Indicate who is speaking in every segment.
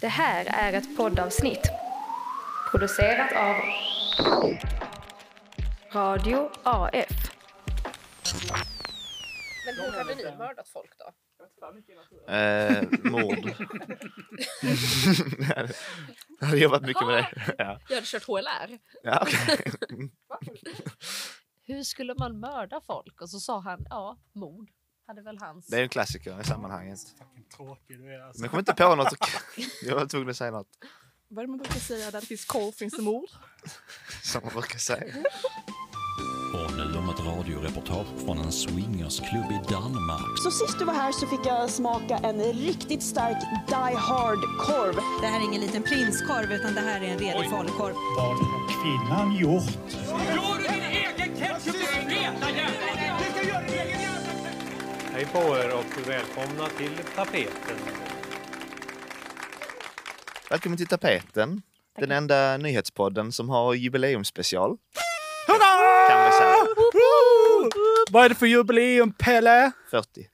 Speaker 1: Det här är ett poddavsnitt producerat av Radio AF.
Speaker 2: Men hur hade ni mördat folk då?
Speaker 3: Eh, mord. jag hade jobbat mycket med det. Ja.
Speaker 4: Jag hade kört HLR.
Speaker 3: Ja, okej.
Speaker 4: Hur skulle man mörda folk? Och så sa han, ja, mord. Hade väl hans.
Speaker 3: Det är ju en klassiker i sammanhanget.
Speaker 5: Fucking tråkig du är alltså.
Speaker 3: Men jag kom inte på något. Jag var tvungen att säga något
Speaker 6: Vad är det man brukar säga? Där det finns korv finns det mord.
Speaker 3: som man brukar säga.
Speaker 7: Och nu om ett radioreportage från en swingersklubb i Danmark.
Speaker 8: Så sist du var här så fick jag smaka en riktigt stark Die Hard-korv.
Speaker 9: Det här är ingen liten prinskorv utan det här är en redig falukorv.
Speaker 5: Vad har kvinnan gjort?
Speaker 10: Hej på er och välkomna till tapeten.
Speaker 3: Välkommen till Tapeten. Den enda nyhetspodden som har jubileumsspecial.
Speaker 5: Hurra!
Speaker 3: Kan vi säga.
Speaker 5: Vad är det för jubileum, Pelle?
Speaker 3: 40.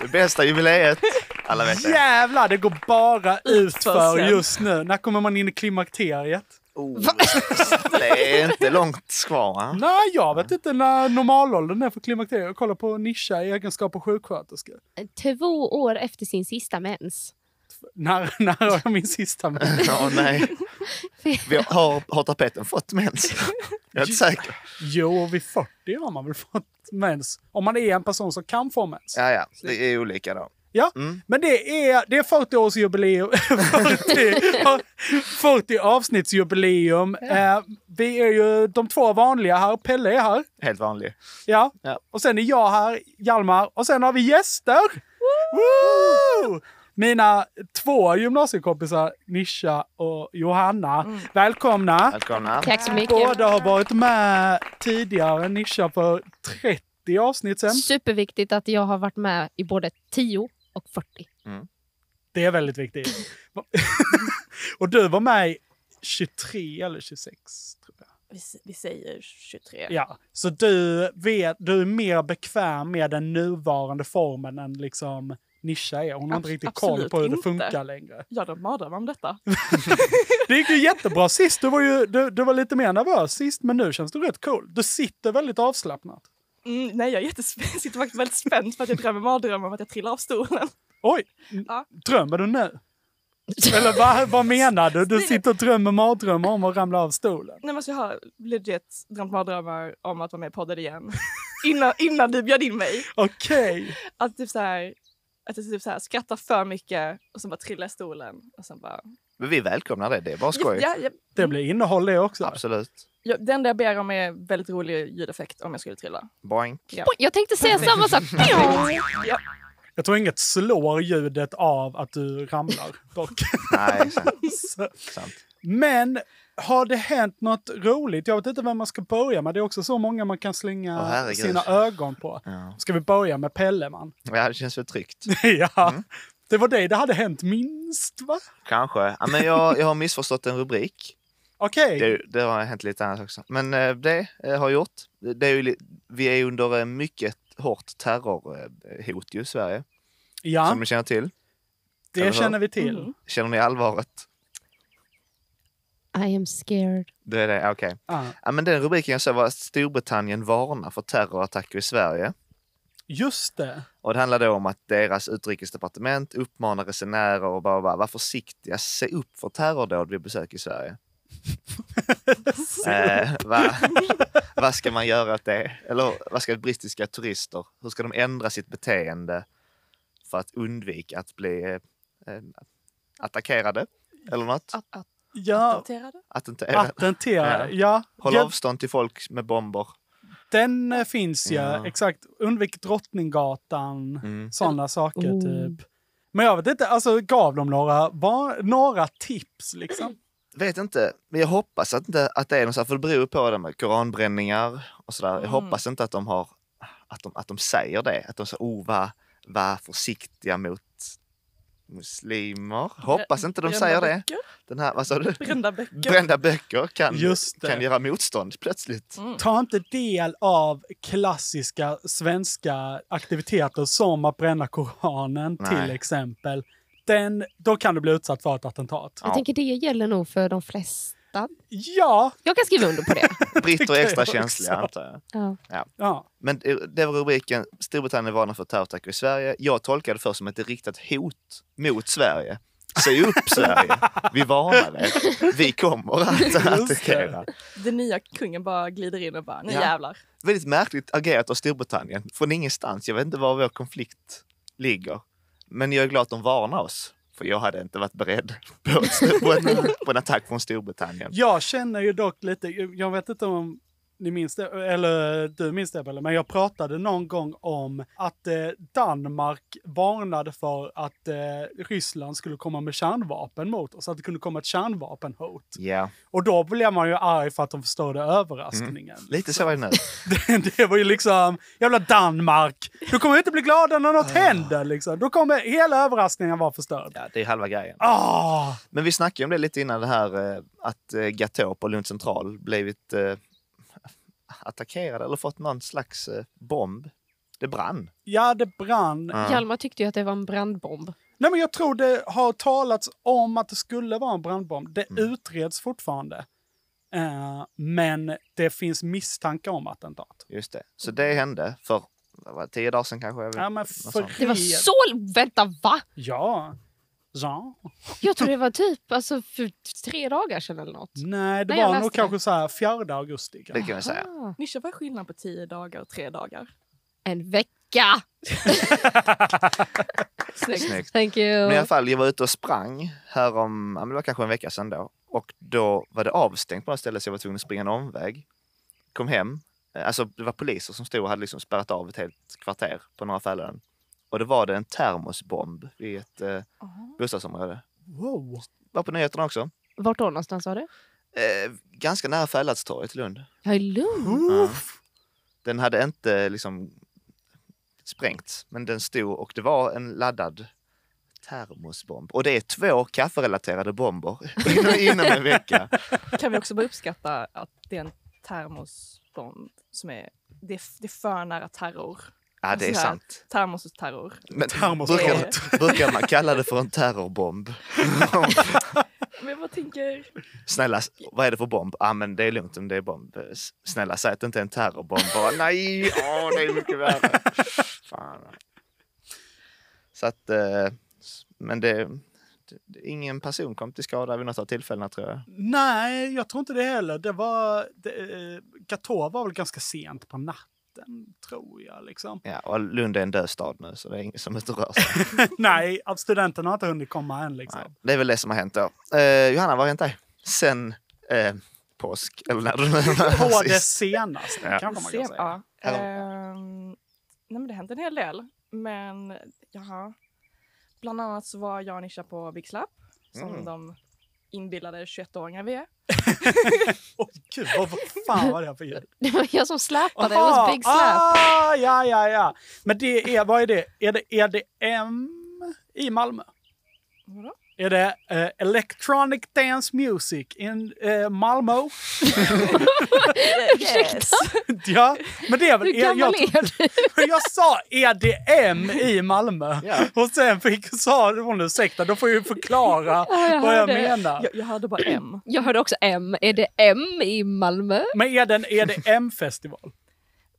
Speaker 3: Det bästa jubileet. Alla vet det.
Speaker 5: Jävlar, det går bara utför
Speaker 4: sen.
Speaker 5: just nu. När kommer man in i klimakteriet?
Speaker 3: Oh, det är inte långt kvar. va?
Speaker 5: Nej, jag vet inte när normalåldern är för klimakteriet. Jag kollar på Nisha i egenskap av sjuksköterska.
Speaker 4: Två år efter sin sista mens.
Speaker 5: När, när har jag min sista med?
Speaker 3: Ja, nej. Vi har, har tapeten fått mens? Jag är inte säker.
Speaker 5: Jo, vid 40 har man väl fått mens? Om man är en person som kan få mens.
Speaker 3: Ja, ja. Det är olika då.
Speaker 5: Ja,
Speaker 3: Mm.
Speaker 5: men det är, det är 40-årsjubileum. 40, 40 avsnittsjubileum. Eh, vi är ju de två vanliga här. Pelle är här.
Speaker 3: Helt vanlig.
Speaker 5: Ja.
Speaker 3: Ja.
Speaker 5: Och sen är jag här, Hjalmar. Och sen har vi gäster. Woo! Mina två gymnasiekompisar, Nisha och Johanna. Välkomna!
Speaker 3: Välkomna.
Speaker 4: Tack så mycket.
Speaker 5: Båda har varit med tidigare, Nisha för 30 avsnitt
Speaker 6: Äh.
Speaker 5: sen.
Speaker 4: Superviktigt att jag har varit med i både 10 och 40.
Speaker 5: Det är väldigt viktigt. och du var med i 23 eller 26, tror jag.
Speaker 6: Vi, vi säger 23.
Speaker 5: Ja, så du, vet, du är mer bekväm med den nuvarande formen än liksom Nisha är. Hon har inte
Speaker 6: Abs-
Speaker 5: riktigt koll
Speaker 6: absolut
Speaker 5: på hur det
Speaker 6: inte.
Speaker 5: funkar längre.
Speaker 6: Ja, de mördar mig om detta.
Speaker 5: Det gick ju jättebra sist. Du var, ju, du, du var lite mer nervös sist, men nu känns du rätt cool. Du sitter väldigt avslappnat.
Speaker 6: Mm, nej, jag är jättesp- sitter faktiskt väldigt spänd för att jag drömmer mardrömmar om att jag trillar av stolen.
Speaker 5: Oj!
Speaker 6: Ja.
Speaker 5: Drömmer du nu? Eller vad, vad menar du? Du
Speaker 6: Snälla.
Speaker 5: sitter och drömmer mardrömmar om att ramla av stolen.
Speaker 6: Nej, men alltså, jag har legit drömt mardrömmar om att vara med i podden igen. Innan, innan du bjöd in mig.
Speaker 5: Okej.
Speaker 6: Att, typ så här, att jag typ så här, skrattar för mycket och sen bara trillar i stolen. Och sen bara...
Speaker 3: Men vi välkomnar det. Det är bara skoj.
Speaker 6: Ja, ja,
Speaker 5: Det blir innehåll det också.
Speaker 3: Absolut.
Speaker 6: ja, det enda jag ber om är väldigt rolig ljudeffekt om jag skulle trilla.
Speaker 3: Boink.
Speaker 4: Oj, Jag tänkte säga samma sak.
Speaker 5: Jag tror inget slår ljudet av att du ramlar. Dock.
Speaker 3: Nej, sant.
Speaker 5: Så-
Speaker 3: sant.
Speaker 5: Men har det hänt något roligt? Jag vet inte vem man ska börja med. Det är också så många man kan slänga
Speaker 3: Åh, herregud.
Speaker 5: sina ögon på.
Speaker 3: Ja.
Speaker 5: Ska vi börja med Pelleman?
Speaker 3: ja, det känns väl tryggt.
Speaker 5: ja,
Speaker 3: Mm.
Speaker 5: det var dig det hade hänt minst, va?
Speaker 3: Kanske. Ja, men jag, jag har missförstått en rubrik.
Speaker 5: Okej.
Speaker 3: Det, det har hänt lite annat också. Men eh, det eh, har gjort. Det det är ju, li- vi är ju under eh, mycket hårt terrorhot ju i Sverige,
Speaker 5: Ja,
Speaker 3: som ni känner till.
Speaker 5: det känner vi till.
Speaker 3: Känner ni allvaret?
Speaker 4: I am scared.
Speaker 3: Det är det, okej.
Speaker 5: Ja.
Speaker 3: Ja, men den rubriken jag såg var att Storbritannien varnar för terrorattacker i Sverige.
Speaker 5: Just det.
Speaker 3: Och det handlar då om att deras utrikesdepartement uppmanar resenärer och bara, bara var försiktiga, se upp för terrordåd vid besök i Sverige. eh, va, vad ska man göra åt det? Eller vad ska brittiska turister, hur ska de ändra sitt beteende för att undvika att bli eh, eh, attackerade? Eller något?
Speaker 5: Ja,
Speaker 6: Daterade?
Speaker 3: Attenterade?
Speaker 5: patentera.
Speaker 3: Ja.
Speaker 5: Ja.
Speaker 3: Håll
Speaker 5: ja,
Speaker 3: avstånd till folk med bomber.
Speaker 5: den eh, finns ju.
Speaker 3: Ja.
Speaker 5: Exakt. Undvik Drottninggatan.
Speaker 3: Mm.
Speaker 5: Sådana saker
Speaker 4: Oh.
Speaker 5: typ. Men jag vet inte, alltså gav de några, var, några tips liksom?
Speaker 4: Mm.
Speaker 3: vet inte, men jag hoppas att, inte, att det är något så här, för det beror på det med koranbränningar och sådär.
Speaker 5: Mm.
Speaker 3: Jag hoppas inte att de har, att de, att de säger det, att de säger oh, var, var försiktiga mot Muslimer. Hoppas inte de
Speaker 6: Brända
Speaker 3: säger det.
Speaker 6: böcker.
Speaker 3: Den här, vad sa du?
Speaker 6: Brända böcker.
Speaker 3: Brända böcker kan,
Speaker 5: Just det. Mm.
Speaker 3: kan göra motstånd plötsligt.
Speaker 5: Ta inte del av klassiska svenska aktiviteter som att bränna Koranen
Speaker 3: Nej.
Speaker 5: till exempel. Den, då kan du bli utsatt för ett attentat.
Speaker 3: Ja.
Speaker 4: Jag tänker det gäller nog för de flesta.
Speaker 5: Ja,
Speaker 4: Jag kan skriva under på det.
Speaker 3: Britter
Speaker 5: tycker
Speaker 3: är
Speaker 5: jag
Speaker 3: extra
Speaker 5: också.
Speaker 3: känsliga antar jag.
Speaker 4: Ja.
Speaker 5: ja.
Speaker 3: Men det- det var rubriken Storbritannien varnar för terrorattacker i Sverige. Jag tolkade det först som ett riktat hot mot Sverige. Säg upp Sverige! Vi varnar er. Vi kommer att attackera.
Speaker 6: Den nya kungen bara glider in och bara, nu
Speaker 3: Ja.
Speaker 6: jävlar.
Speaker 3: Väldigt märkligt agerat av Storbritannien. Från ingenstans. Jag vet inte var vår konflikt ligger. Men jag är glad att de varnar oss. För jag hade inte varit beredd på, på, en, på en attack från Storbritannien.
Speaker 5: Jag känner ju dock lite, jag vet inte om ni minns det, eller du minns det, Bella, men jag pratade någon gång om att eh, Danmark varnade för att eh, Ryssland skulle komma med kärnvapen mot oss, att det kunde komma ett kärnvapenhot.
Speaker 3: Ja,
Speaker 5: Och då blev man ju arg för att de förstörde överraskningen.
Speaker 3: Mm. lite så är det nu.
Speaker 5: Det, det var ju liksom, jävla Danmark! Du kommer ju inte bli glada när något händer liksom. Då kommer hela överraskningen vara förstörd.
Speaker 3: Ah. Ja, det är halva grejen.
Speaker 5: Ah!
Speaker 3: Men vi snackade ju om det lite innan det här eh, att eh, Gatå på Lund central blivit eh, attackerad eller fått någon slags eh, bomb. Det brann.
Speaker 5: Ja, det brann.
Speaker 4: Hjalmar tyckte ju att det var en brandbomb.
Speaker 5: Nej, men jag tror det har talats om att det skulle vara en brandbomb. Det utreds fortfarande. Eh, men det finns misstankar om attentat.
Speaker 3: Just det. Så det hände för vad var det, tio dagar sedan kanske.
Speaker 5: Ja, men
Speaker 3: Något
Speaker 5: för
Speaker 3: sånt.
Speaker 4: Det var
Speaker 5: helvete.
Speaker 4: så... Vänta, va?
Speaker 5: Ja. Ja.
Speaker 4: Jag tror det var typ alltså, för tre dagar sedan eller något.
Speaker 5: Nej, det
Speaker 4: Nej, jag
Speaker 5: var
Speaker 4: läste
Speaker 5: nog
Speaker 4: det.
Speaker 5: kanske så här 4 augusti.
Speaker 3: Det kan vi säga.
Speaker 4: Ah,
Speaker 6: Nisha, vad är skillnaden på tio dagar och tre dagar?
Speaker 4: en vecka!
Speaker 6: Snyggt.
Speaker 3: Snyggt.
Speaker 4: Thank you.
Speaker 3: Men i alla fall, jag var ute och sprang här om, ja, men det var kanske en vecka sedan då. Och då var det avstängt på något ställe så jag var tvungen att springa en omväg. Kom hem. Eh, Alltså det var poliser som stod och hade liksom spärrat av ett helt kvarter på några fällen. Och då var det en termosbomb i ett eh, bostadsområde.
Speaker 5: Wow.
Speaker 3: Var på nyheterna också.
Speaker 4: Vart då någonstans var det?
Speaker 3: Eh, ganska nära Fälladstorget i Lund.
Speaker 4: Ja, i Lund.
Speaker 3: Ja. Den hade inte liksom sprängts, men den stod och det var en laddad termosbomb. Och det är två kafferelaterade bomber inom, inom en vecka.
Speaker 6: Kan vi också bara uppskatta att det är en termosbomb som är, det är, det är för nära terror.
Speaker 3: Ja, det är
Speaker 6: Så här,
Speaker 3: sant.
Speaker 6: Termos och terror.
Speaker 3: Men
Speaker 5: Termosbomb.
Speaker 3: brukar, brukar man kalla det för en terrorbomb?
Speaker 6: Men jag bara tänker,
Speaker 3: Snälla, s- vad är det för bomb? Ja, ah, men det är lugnt om det är bomb. S- Snälla, säg att det inte är en terrorbomb. Bara, nej, åh, det är mycket värre. Fan. Så att, eh, s- men det, det- det, ingen person kom till skada vid något av tillfällena tror jag.
Speaker 5: Nej, jag tror inte det heller. Det var... Det, eh, Gatå var väl ganska sent på natten, tror jag. Liksom.
Speaker 3: Ja, och Lund är en död stad nu så det är ingen som inte rör sig.
Speaker 5: Nej, att studenterna har inte hunnit komma än. Liksom.
Speaker 3: Nej, det är väl det som har hänt då. Eh, Johanna, vad har hänt dig? Sen eh, påsk, eller när du
Speaker 5: På
Speaker 3: var
Speaker 5: det
Speaker 3: sist?
Speaker 5: senaste,
Speaker 3: Ja.
Speaker 5: kanske man
Speaker 6: se-
Speaker 5: kan säga.
Speaker 6: ja.
Speaker 3: Hallå.
Speaker 6: Ehm, nej men det har hänt en hel del. Men jaha. Bland annat så var jag och Nisha på Big Slap, som
Speaker 3: Mm.
Speaker 6: de inbillade 21-åringar vi är.
Speaker 5: Åh gud, vad, vad fan var det här för ljud?
Speaker 4: Det var jag som släpade. It
Speaker 5: Aha,
Speaker 4: was big slap.
Speaker 5: Ah, ja, ja, ja. Men det är, vad är det? Är det EDM i Malmö?
Speaker 6: Vadå?
Speaker 5: Är det eh, Electronic Dance Music in eh, Malmö?
Speaker 6: Yes.
Speaker 5: ja, men det är väl... E-
Speaker 4: Hur
Speaker 5: jag,
Speaker 4: gammal
Speaker 5: jag,
Speaker 4: är du?
Speaker 5: jag sa EDM i Malmö
Speaker 3: Ja.
Speaker 5: och sen fick, sa hon ursäkta, då får jag ju förklara
Speaker 4: jag
Speaker 5: vad jag
Speaker 4: hörde.
Speaker 5: menar.
Speaker 6: Jag, jag hörde bara M.
Speaker 4: Jag hörde också M. Är det M i Malmö?
Speaker 5: Men är det en E EDM-festival?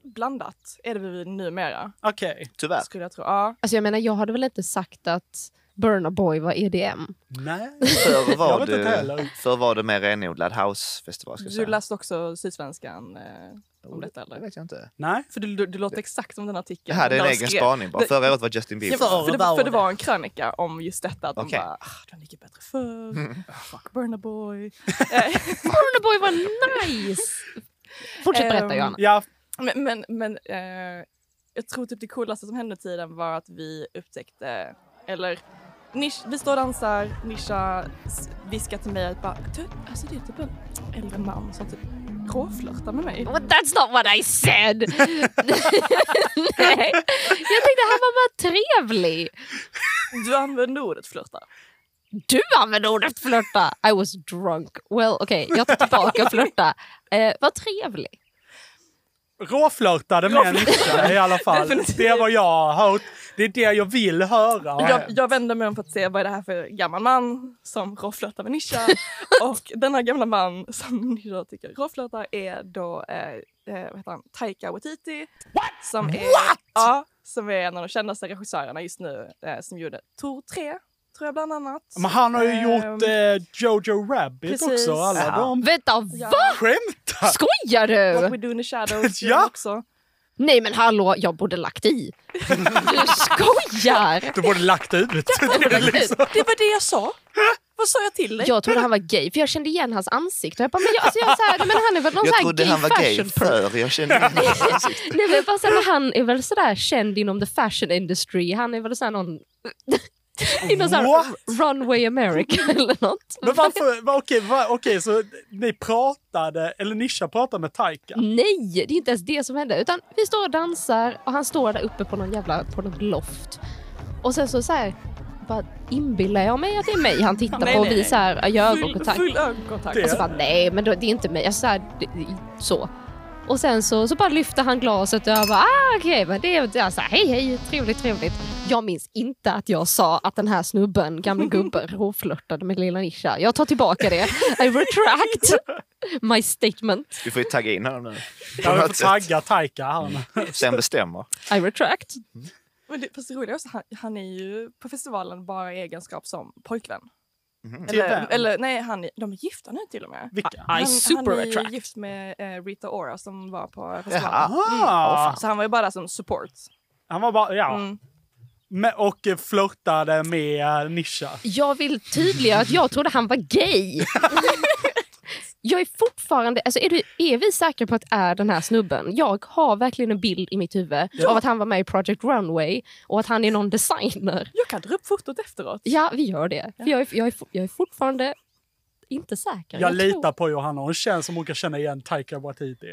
Speaker 6: Blandat är det vi numera,
Speaker 5: Okej.
Speaker 3: Tyvärr.
Speaker 6: skulle jag tro. Ja.
Speaker 4: Alltså jag menar, jag hade väl inte sagt att Burna Boy var E EDM?
Speaker 5: Nej.
Speaker 3: Förr
Speaker 5: Jag
Speaker 3: var,
Speaker 5: vet inte
Speaker 3: du,
Speaker 5: heller.
Speaker 3: förr var det mer renodlad housefestival. Ska jag
Speaker 6: Du
Speaker 3: säga.
Speaker 6: läste också Sydsvenskan eh, om detta,
Speaker 3: Det
Speaker 6: eller?
Speaker 3: vet jag inte.
Speaker 5: Nej.
Speaker 6: För du, du, du låter exakt som den
Speaker 3: Det
Speaker 6: artikeln.
Speaker 3: här är en
Speaker 6: där de
Speaker 3: egen
Speaker 6: skrev-
Speaker 3: spaning bara.
Speaker 6: det-
Speaker 3: Förra året var Justin Bieber.
Speaker 6: Ja, för, för, det,
Speaker 5: Förra
Speaker 6: för det var en krönika om just detta. Att
Speaker 3: Okej.
Speaker 6: de
Speaker 3: Mm.
Speaker 6: bara, ah, det var mycket bättre förr. Fuck Burna Boy.
Speaker 4: Burna Boy var nice! Fortsätt berätta,
Speaker 6: Ehm,
Speaker 4: Johanna.
Speaker 5: Ja,
Speaker 6: Men, men, men eh, jag tror typ det coolaste som hände under tiden var att vi upptäckte, eller Nish, vi står och dansar, Nisha s- viskar till mig att bara, du, alltså det är typ en äldre man som typ råflörtar med mig.
Speaker 4: Well, that's not what I said! Nej. Jag tänkte han var bara trevlig.
Speaker 6: Du använde ordet flörta.
Speaker 4: Du använde ordet flörta! I was drunk. Well, okej, jag tar tillbaka flörta. Eh, vad trevlig.
Speaker 5: Råflörtade med Nisha i alla fall.
Speaker 6: Definitivt.
Speaker 5: Det är vad jag har hört. Det är det jag vill höra.
Speaker 6: Jag, jag vände mig om för att se vad är det här för gammal man som råflörtar med Nisha. och denna gamla man som Nisha tycker råflörtar är då eh, eh, vad heter han? Taika Waititi. Som är, Ja, som är en av de kändaste regissörerna just nu eh, som gjorde Tor 3, tror jag bland annat.
Speaker 5: Men han har ju
Speaker 6: Ehm,
Speaker 5: gjort eh, Jojo Rabbit
Speaker 6: precis.
Speaker 5: också. Alla
Speaker 3: Ja.
Speaker 5: de
Speaker 4: Vänta,
Speaker 6: Ja.
Speaker 4: va?
Speaker 5: skämtar!
Speaker 4: Skojar
Speaker 6: Eh, What
Speaker 4: du?
Speaker 6: We Do In The Shadows
Speaker 5: Ja.
Speaker 6: gjorde han också.
Speaker 4: Nej men hallå, jag borde lagt i. Du skojar!
Speaker 5: Du borde lagt ut det. Det är liksom-
Speaker 6: Det var det jag sa. Vad sa jag till dig?
Speaker 4: Jag trodde han var gay för jag kände igen hans ansikte. Jag bara, men jag, alltså jag är så här, nej, men han är väl någon
Speaker 3: Jag
Speaker 4: så här
Speaker 3: trodde
Speaker 4: gay
Speaker 3: han var gay
Speaker 4: fashion pro.
Speaker 3: förr. Jag kände igen hans ansikte.
Speaker 4: Nej, men bara så här, men han är väl sådär känd inom the fashion industry. Han är väl såhär någon... inom såhär
Speaker 5: What?
Speaker 4: runway America eller något.
Speaker 5: Men varför, va, okej, va, okej, så ni pratade, eller Nisha pratade med Taika.
Speaker 6: Mm.
Speaker 4: Nej, det är inte ens det som hände. Utan vi står och dansar och han står där uppe på någon jävla på något loft. Och sen så så här, bara inbillar jag mig att det är mig han tittar
Speaker 6: Nej,
Speaker 4: på och
Speaker 6: nej,
Speaker 4: vi
Speaker 6: nej.
Speaker 4: så här gör
Speaker 6: Full,
Speaker 4: ögonkontakt.
Speaker 6: full ögonkontakt.
Speaker 5: Det-
Speaker 4: Och så Alltså, bara nej, men då, det är inte mig. Jag så, här, det- det- så. Och sen så, så bara lyfter han glaset och jag bara ah, okej, men det är det är så här, hej hej, trevligt trevligt. Jag minns inte att jag sa att den här snubben, gamla gubben, rovflörtade med lilla Nisha. Jag tar tillbaka det. I retract my statement.
Speaker 3: Du får ju tagga in honom nu.
Speaker 5: Jag
Speaker 3: något
Speaker 5: vill tagga Taika. Han.
Speaker 3: Sen bestämmer.
Speaker 4: I retract.
Speaker 6: Men det, fast det roliga är också, han, han är ju på festivalen bara i egenskap som pojkvän.
Speaker 3: Mhm.
Speaker 4: Typ
Speaker 5: Till
Speaker 6: Eller,
Speaker 5: vem?
Speaker 6: eller nej, han, är- de är gifta nu till och med.
Speaker 5: Vilka?
Speaker 6: Han, han är
Speaker 4: attract.
Speaker 6: ju gift med eh, Rita Ora som var på festivalen.
Speaker 3: Jaha.
Speaker 5: Ah,
Speaker 6: Så han var ju bara som support.
Speaker 5: han var bara, ja.
Speaker 6: Mm.
Speaker 5: Med, och eh, flörtade med eh, Nisha.
Speaker 4: Jag vill tydliggöra att jag trodde han var gay. Jag är fortfarande... Alltså är, du, är vi säkra på att det är den här snubben? Jag har verkligen en bild i mitt huvud av att han var med i Project Runway och att han är någon designer.
Speaker 6: Jag kan dra upp fotot efteråt.
Speaker 4: Ja, vi gör det. För jag, är, jag, är, fo- jag är fortfarande inte säker.
Speaker 5: Jag, litar på Johanna. Hon känns som hon kan känna igen Taika Waititi.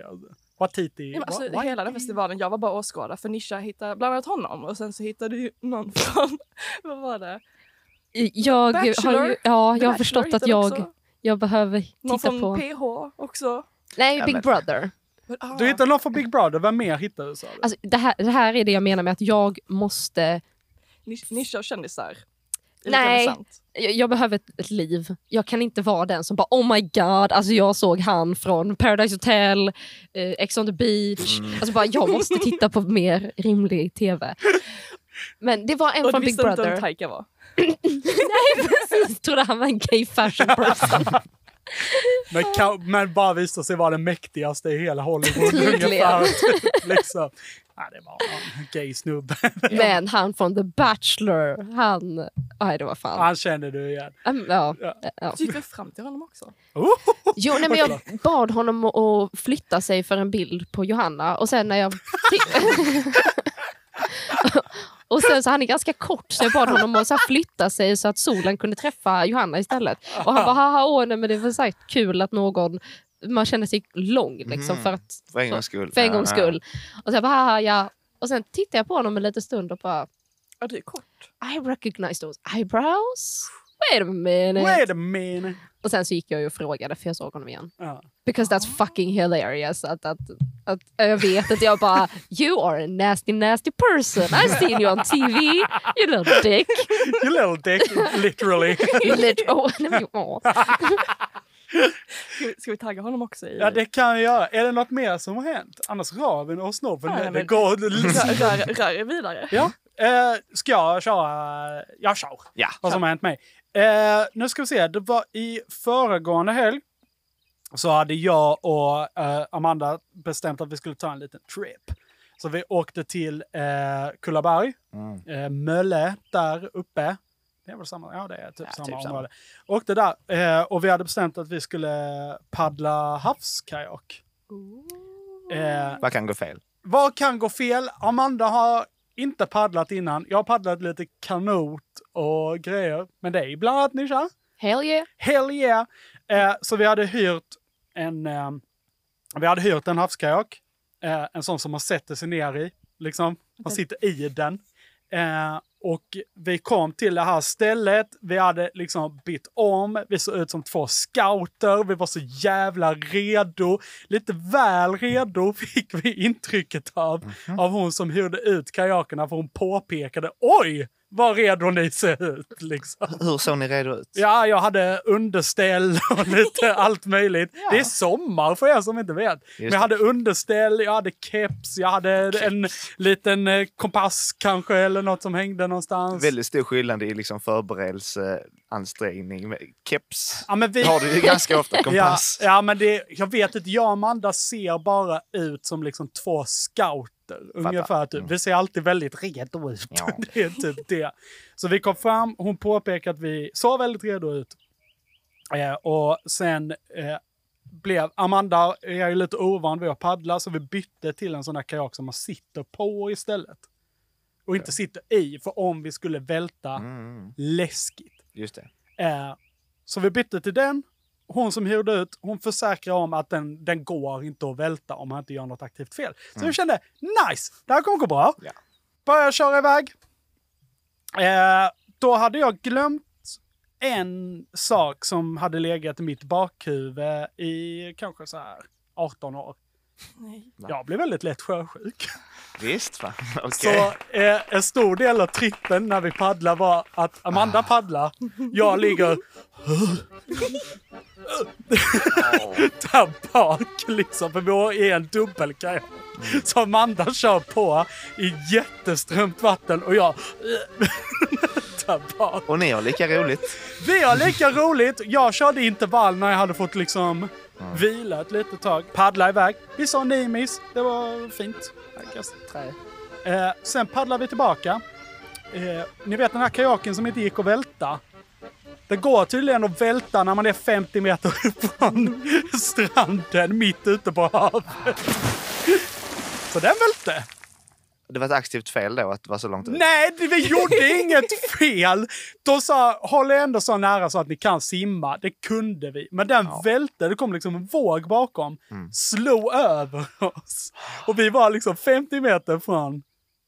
Speaker 5: Watiti.
Speaker 6: Ja, men alltså, hela den festivalen, jag var bara åskådare för Nisha hittade bland annat honom och sen så hittade ju någon från, vad var det?
Speaker 4: tror. Jag, har, ju-
Speaker 6: Bachelor?
Speaker 4: ja, jag har
Speaker 6: Bachelor
Speaker 4: förstått att
Speaker 6: hittade
Speaker 4: jag,
Speaker 6: också.
Speaker 4: jag behöver
Speaker 6: Någon
Speaker 4: titta
Speaker 6: från
Speaker 4: på...
Speaker 6: PH också.
Speaker 4: Nej,
Speaker 3: Ja,
Speaker 4: Big
Speaker 3: men-
Speaker 4: Brother.
Speaker 6: Men, ah,
Speaker 5: Du hittade någon från Big Brother. Vem mer hittade du? sa du?
Speaker 4: Alltså, det, här, det här är det jag menar med att jag måste...
Speaker 6: Nish- Ah, Nisha och kändisar. Det är lite
Speaker 4: Nej.
Speaker 6: intressant.
Speaker 4: jag, jag behöver ett, ett liv. Jag kan inte vara den som bara oh my god, alltså jag såg han från Paradise Hotel, eh, Ex on the beach. Alltså bara, jag måste titta på mer rimlig tv. Men det var en
Speaker 6: Och du
Speaker 4: från Big
Speaker 6: visste inte vem
Speaker 4: Brother.
Speaker 6: Taika var?
Speaker 4: Jag trodde han var en gay fashion person.
Speaker 5: Men, kan, men bara visade sig vara den mäktigaste i hela Hollywood.
Speaker 4: Tydligen.
Speaker 5: ungefär. liksom. Ja, det var en gay snubbe.
Speaker 4: Men han från The Bachelor, han... Nej, det var fan.
Speaker 5: Han kände du igen.
Speaker 4: Um, ja. Ja.
Speaker 6: Du Alltså, gick väl fram till honom också?
Speaker 5: Oh!
Speaker 4: Jo, nej, men jag bad honom att- att flytta sig för en bild på Johanna och sen när jag... och sen så han är ganska kort så jag bad honom att så här flytta sig så att solen kunde träffa Johanna istället. Och han bara, haha, åh, nej, men det var säkert kul att någon... Man känner sig lång liksom
Speaker 3: Mhm.
Speaker 4: för, att,
Speaker 3: För en gångs skull.
Speaker 4: för en
Speaker 3: Ja,
Speaker 4: gångs
Speaker 3: ja.
Speaker 4: skull. Och så jag bara, haha, ja. Och sen tittade jag på honom en liten stund och bara,
Speaker 6: Ja, du är kort.
Speaker 4: I recognize those eyebrows. Wait a minute.
Speaker 5: Wait a minute.
Speaker 4: Och sen så gick jag ju och frågade för jag såg honom igen.
Speaker 5: Ja.
Speaker 4: Because that's fucking hilarious. Att, att, att, äh, jag vet att jag bara, you are a nasty nasty person. I've seen you on TV, you little dick.
Speaker 5: You little dick, literally.
Speaker 4: You little, oh, nej, men, åh.
Speaker 6: Ska vi, ska vi tagga honom också? I,
Speaker 5: Ja, det kan jag göra. Är det något mer som har hänt? Annars raven och snoven.
Speaker 6: Ja,
Speaker 5: det-
Speaker 6: men-
Speaker 5: det går...
Speaker 6: Rör, rör, rör er vidare.
Speaker 5: Ja. Eh, ska jag köra? Jag kör.
Speaker 3: Ja.
Speaker 5: Vad som har hänt mig. Eh, nu ska vi se. Det var i föregående helg så hade jag och eh, Amanda bestämt att vi skulle ta en liten trip. Så vi åkte till eh, Kullaberg,
Speaker 3: Mm.
Speaker 5: eh, Mölle där uppe. Det är väl samma? Ja, det är typ
Speaker 6: Ja,
Speaker 5: samma
Speaker 6: typ samma.
Speaker 5: område. Åkte där eh, och vi hade bestämt att vi skulle paddla havskajak. Eh,
Speaker 3: Vad kan gå fel?
Speaker 5: vad kan gå fel? Amanda har inte paddlat innan. Jag har paddlat lite kanot och grejer med dig, bland annat Nisha.
Speaker 4: Hell yeah.
Speaker 5: Hell yeah! Eh, så vi hade hyrt en, eh, vi hade hyrt en havskajak. Eh, en sån som man sätter sig ner i. Liksom. Man sitter i den. Eh, Och vi kom till det här stället. Vi hade liksom bytt om. Vi såg ut som två scouter. Vi var så jävla redo. Lite väl redo fick vi intrycket av, av hon som hyrde ut kajakerna. För hon påpekade oj, vad redo ni ser ut. Liksom.
Speaker 3: Hur såg ni redo ut?
Speaker 5: Ja, jag hade underställ och lite allt möjligt. Det är sommar för er som inte vet. Men
Speaker 3: det.
Speaker 5: jag hade underställ, jag hade keps, jag hade en liten eh, kompass kanske eller något som hängde någonstans.
Speaker 3: Väldigt stor skillnad i liksom förberedelseansträngning. med Keps
Speaker 5: Ja, men vi,
Speaker 3: har du ju ganska ofta,
Speaker 5: ja,
Speaker 3: kompass.
Speaker 5: ja, men det, jag vet inte, jag och Amanda ser bara ut som liksom två scouter. Ungefär typ.
Speaker 3: Mm.
Speaker 5: Vi ser alltid väldigt redo ut.
Speaker 3: Ja.
Speaker 5: Det är typ det. Så vi kom fram, hon påpekade att vi såg väldigt redo ut. Eh, och sen eh, blev Amanda, jag är ju lite ovan vid att paddla, så vi bytte till en sån där kajak som man sitter på istället. Och inte sitter i, för om vi skulle välta,
Speaker 3: Mm,
Speaker 5: läskigt.
Speaker 3: just det.
Speaker 5: Eh, så vi bytte till den. Hon som hyrde ut, hon försäkrar om att den, den går inte att välta om man inte gör något aktivt fel. Så vi kände, nice, det här kommer gå bra.
Speaker 3: Ja.
Speaker 5: Började köra iväg. Eh, då hade jag glömt en sak som hade legat i mitt bakhuvud i kanske så här 18 år.
Speaker 6: Nej.
Speaker 5: Jag blev väldigt lätt sjösjuk.
Speaker 3: Visst, va? Okej.
Speaker 5: Så eh, en stor del av trippen när vi paddlar var att Amanda paddlar, jag ligger där bak liksom, för vi har- är en dubbelkajak. Så Amanda kör på i jätteströmt vatten och jag där bak.
Speaker 3: Och ni har lika roligt.
Speaker 5: Vi har lika roligt. Jag körde intervall när jag hade fått liksom vila ett litet tag. Paddla iväg. Vi sa nimis. Det var fint. Stackars trä. Eh, sen paddlar vi tillbaka. Eh, ni vet den här kajaken som inte gick att välta. Det går tydligen att välta när man är 50 meter från stranden mitt ute på havet. Så den välte.
Speaker 3: Det var ett aktivt fel då att vara så långt ut.
Speaker 5: Nej, det- vi gjorde inget fel! De sa, håll er ändå så nära så att ni kan simma. Det kunde vi. Men den välte, det kom liksom en våg bakom.
Speaker 6: Mm.
Speaker 5: Slog över oss. Och vi var liksom 50 meter från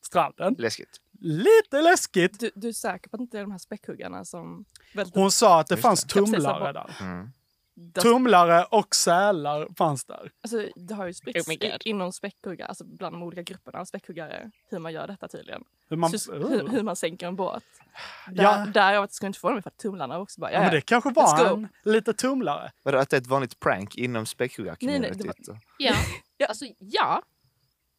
Speaker 5: stranden.
Speaker 3: Läskigt.
Speaker 5: Lite läskigt.
Speaker 6: Du, du är säker på att det inte är de här späckhuggarna som välter?
Speaker 5: Hon sa att det
Speaker 3: Just
Speaker 5: fanns
Speaker 6: det. Jag precis Mm.
Speaker 5: tumlare
Speaker 6: sa
Speaker 5: där.
Speaker 6: Das-
Speaker 5: Tumlare och sälar fanns där.
Speaker 6: Alltså, det har ju
Speaker 2: Oh
Speaker 6: spritts
Speaker 2: my
Speaker 6: i-
Speaker 2: God.
Speaker 6: inom späckhuggare, alltså bland de olika grupperna av späckhuggare, hur man gör detta tydligen.
Speaker 5: Hur man,
Speaker 6: Sys- hur, hur man sänker en båt. Där,
Speaker 5: ja,
Speaker 6: Därav att det skulle inte förvåna mig för att tumlarna också bara,
Speaker 5: ja, men det kanske var
Speaker 6: Let's go.
Speaker 5: en lite tumlare.
Speaker 3: Vadå, att det är ett vanligt prank inom späckhuggar-communityt?
Speaker 6: Nej, nej,
Speaker 4: Ja.
Speaker 6: Ja.
Speaker 4: Alltså, ja.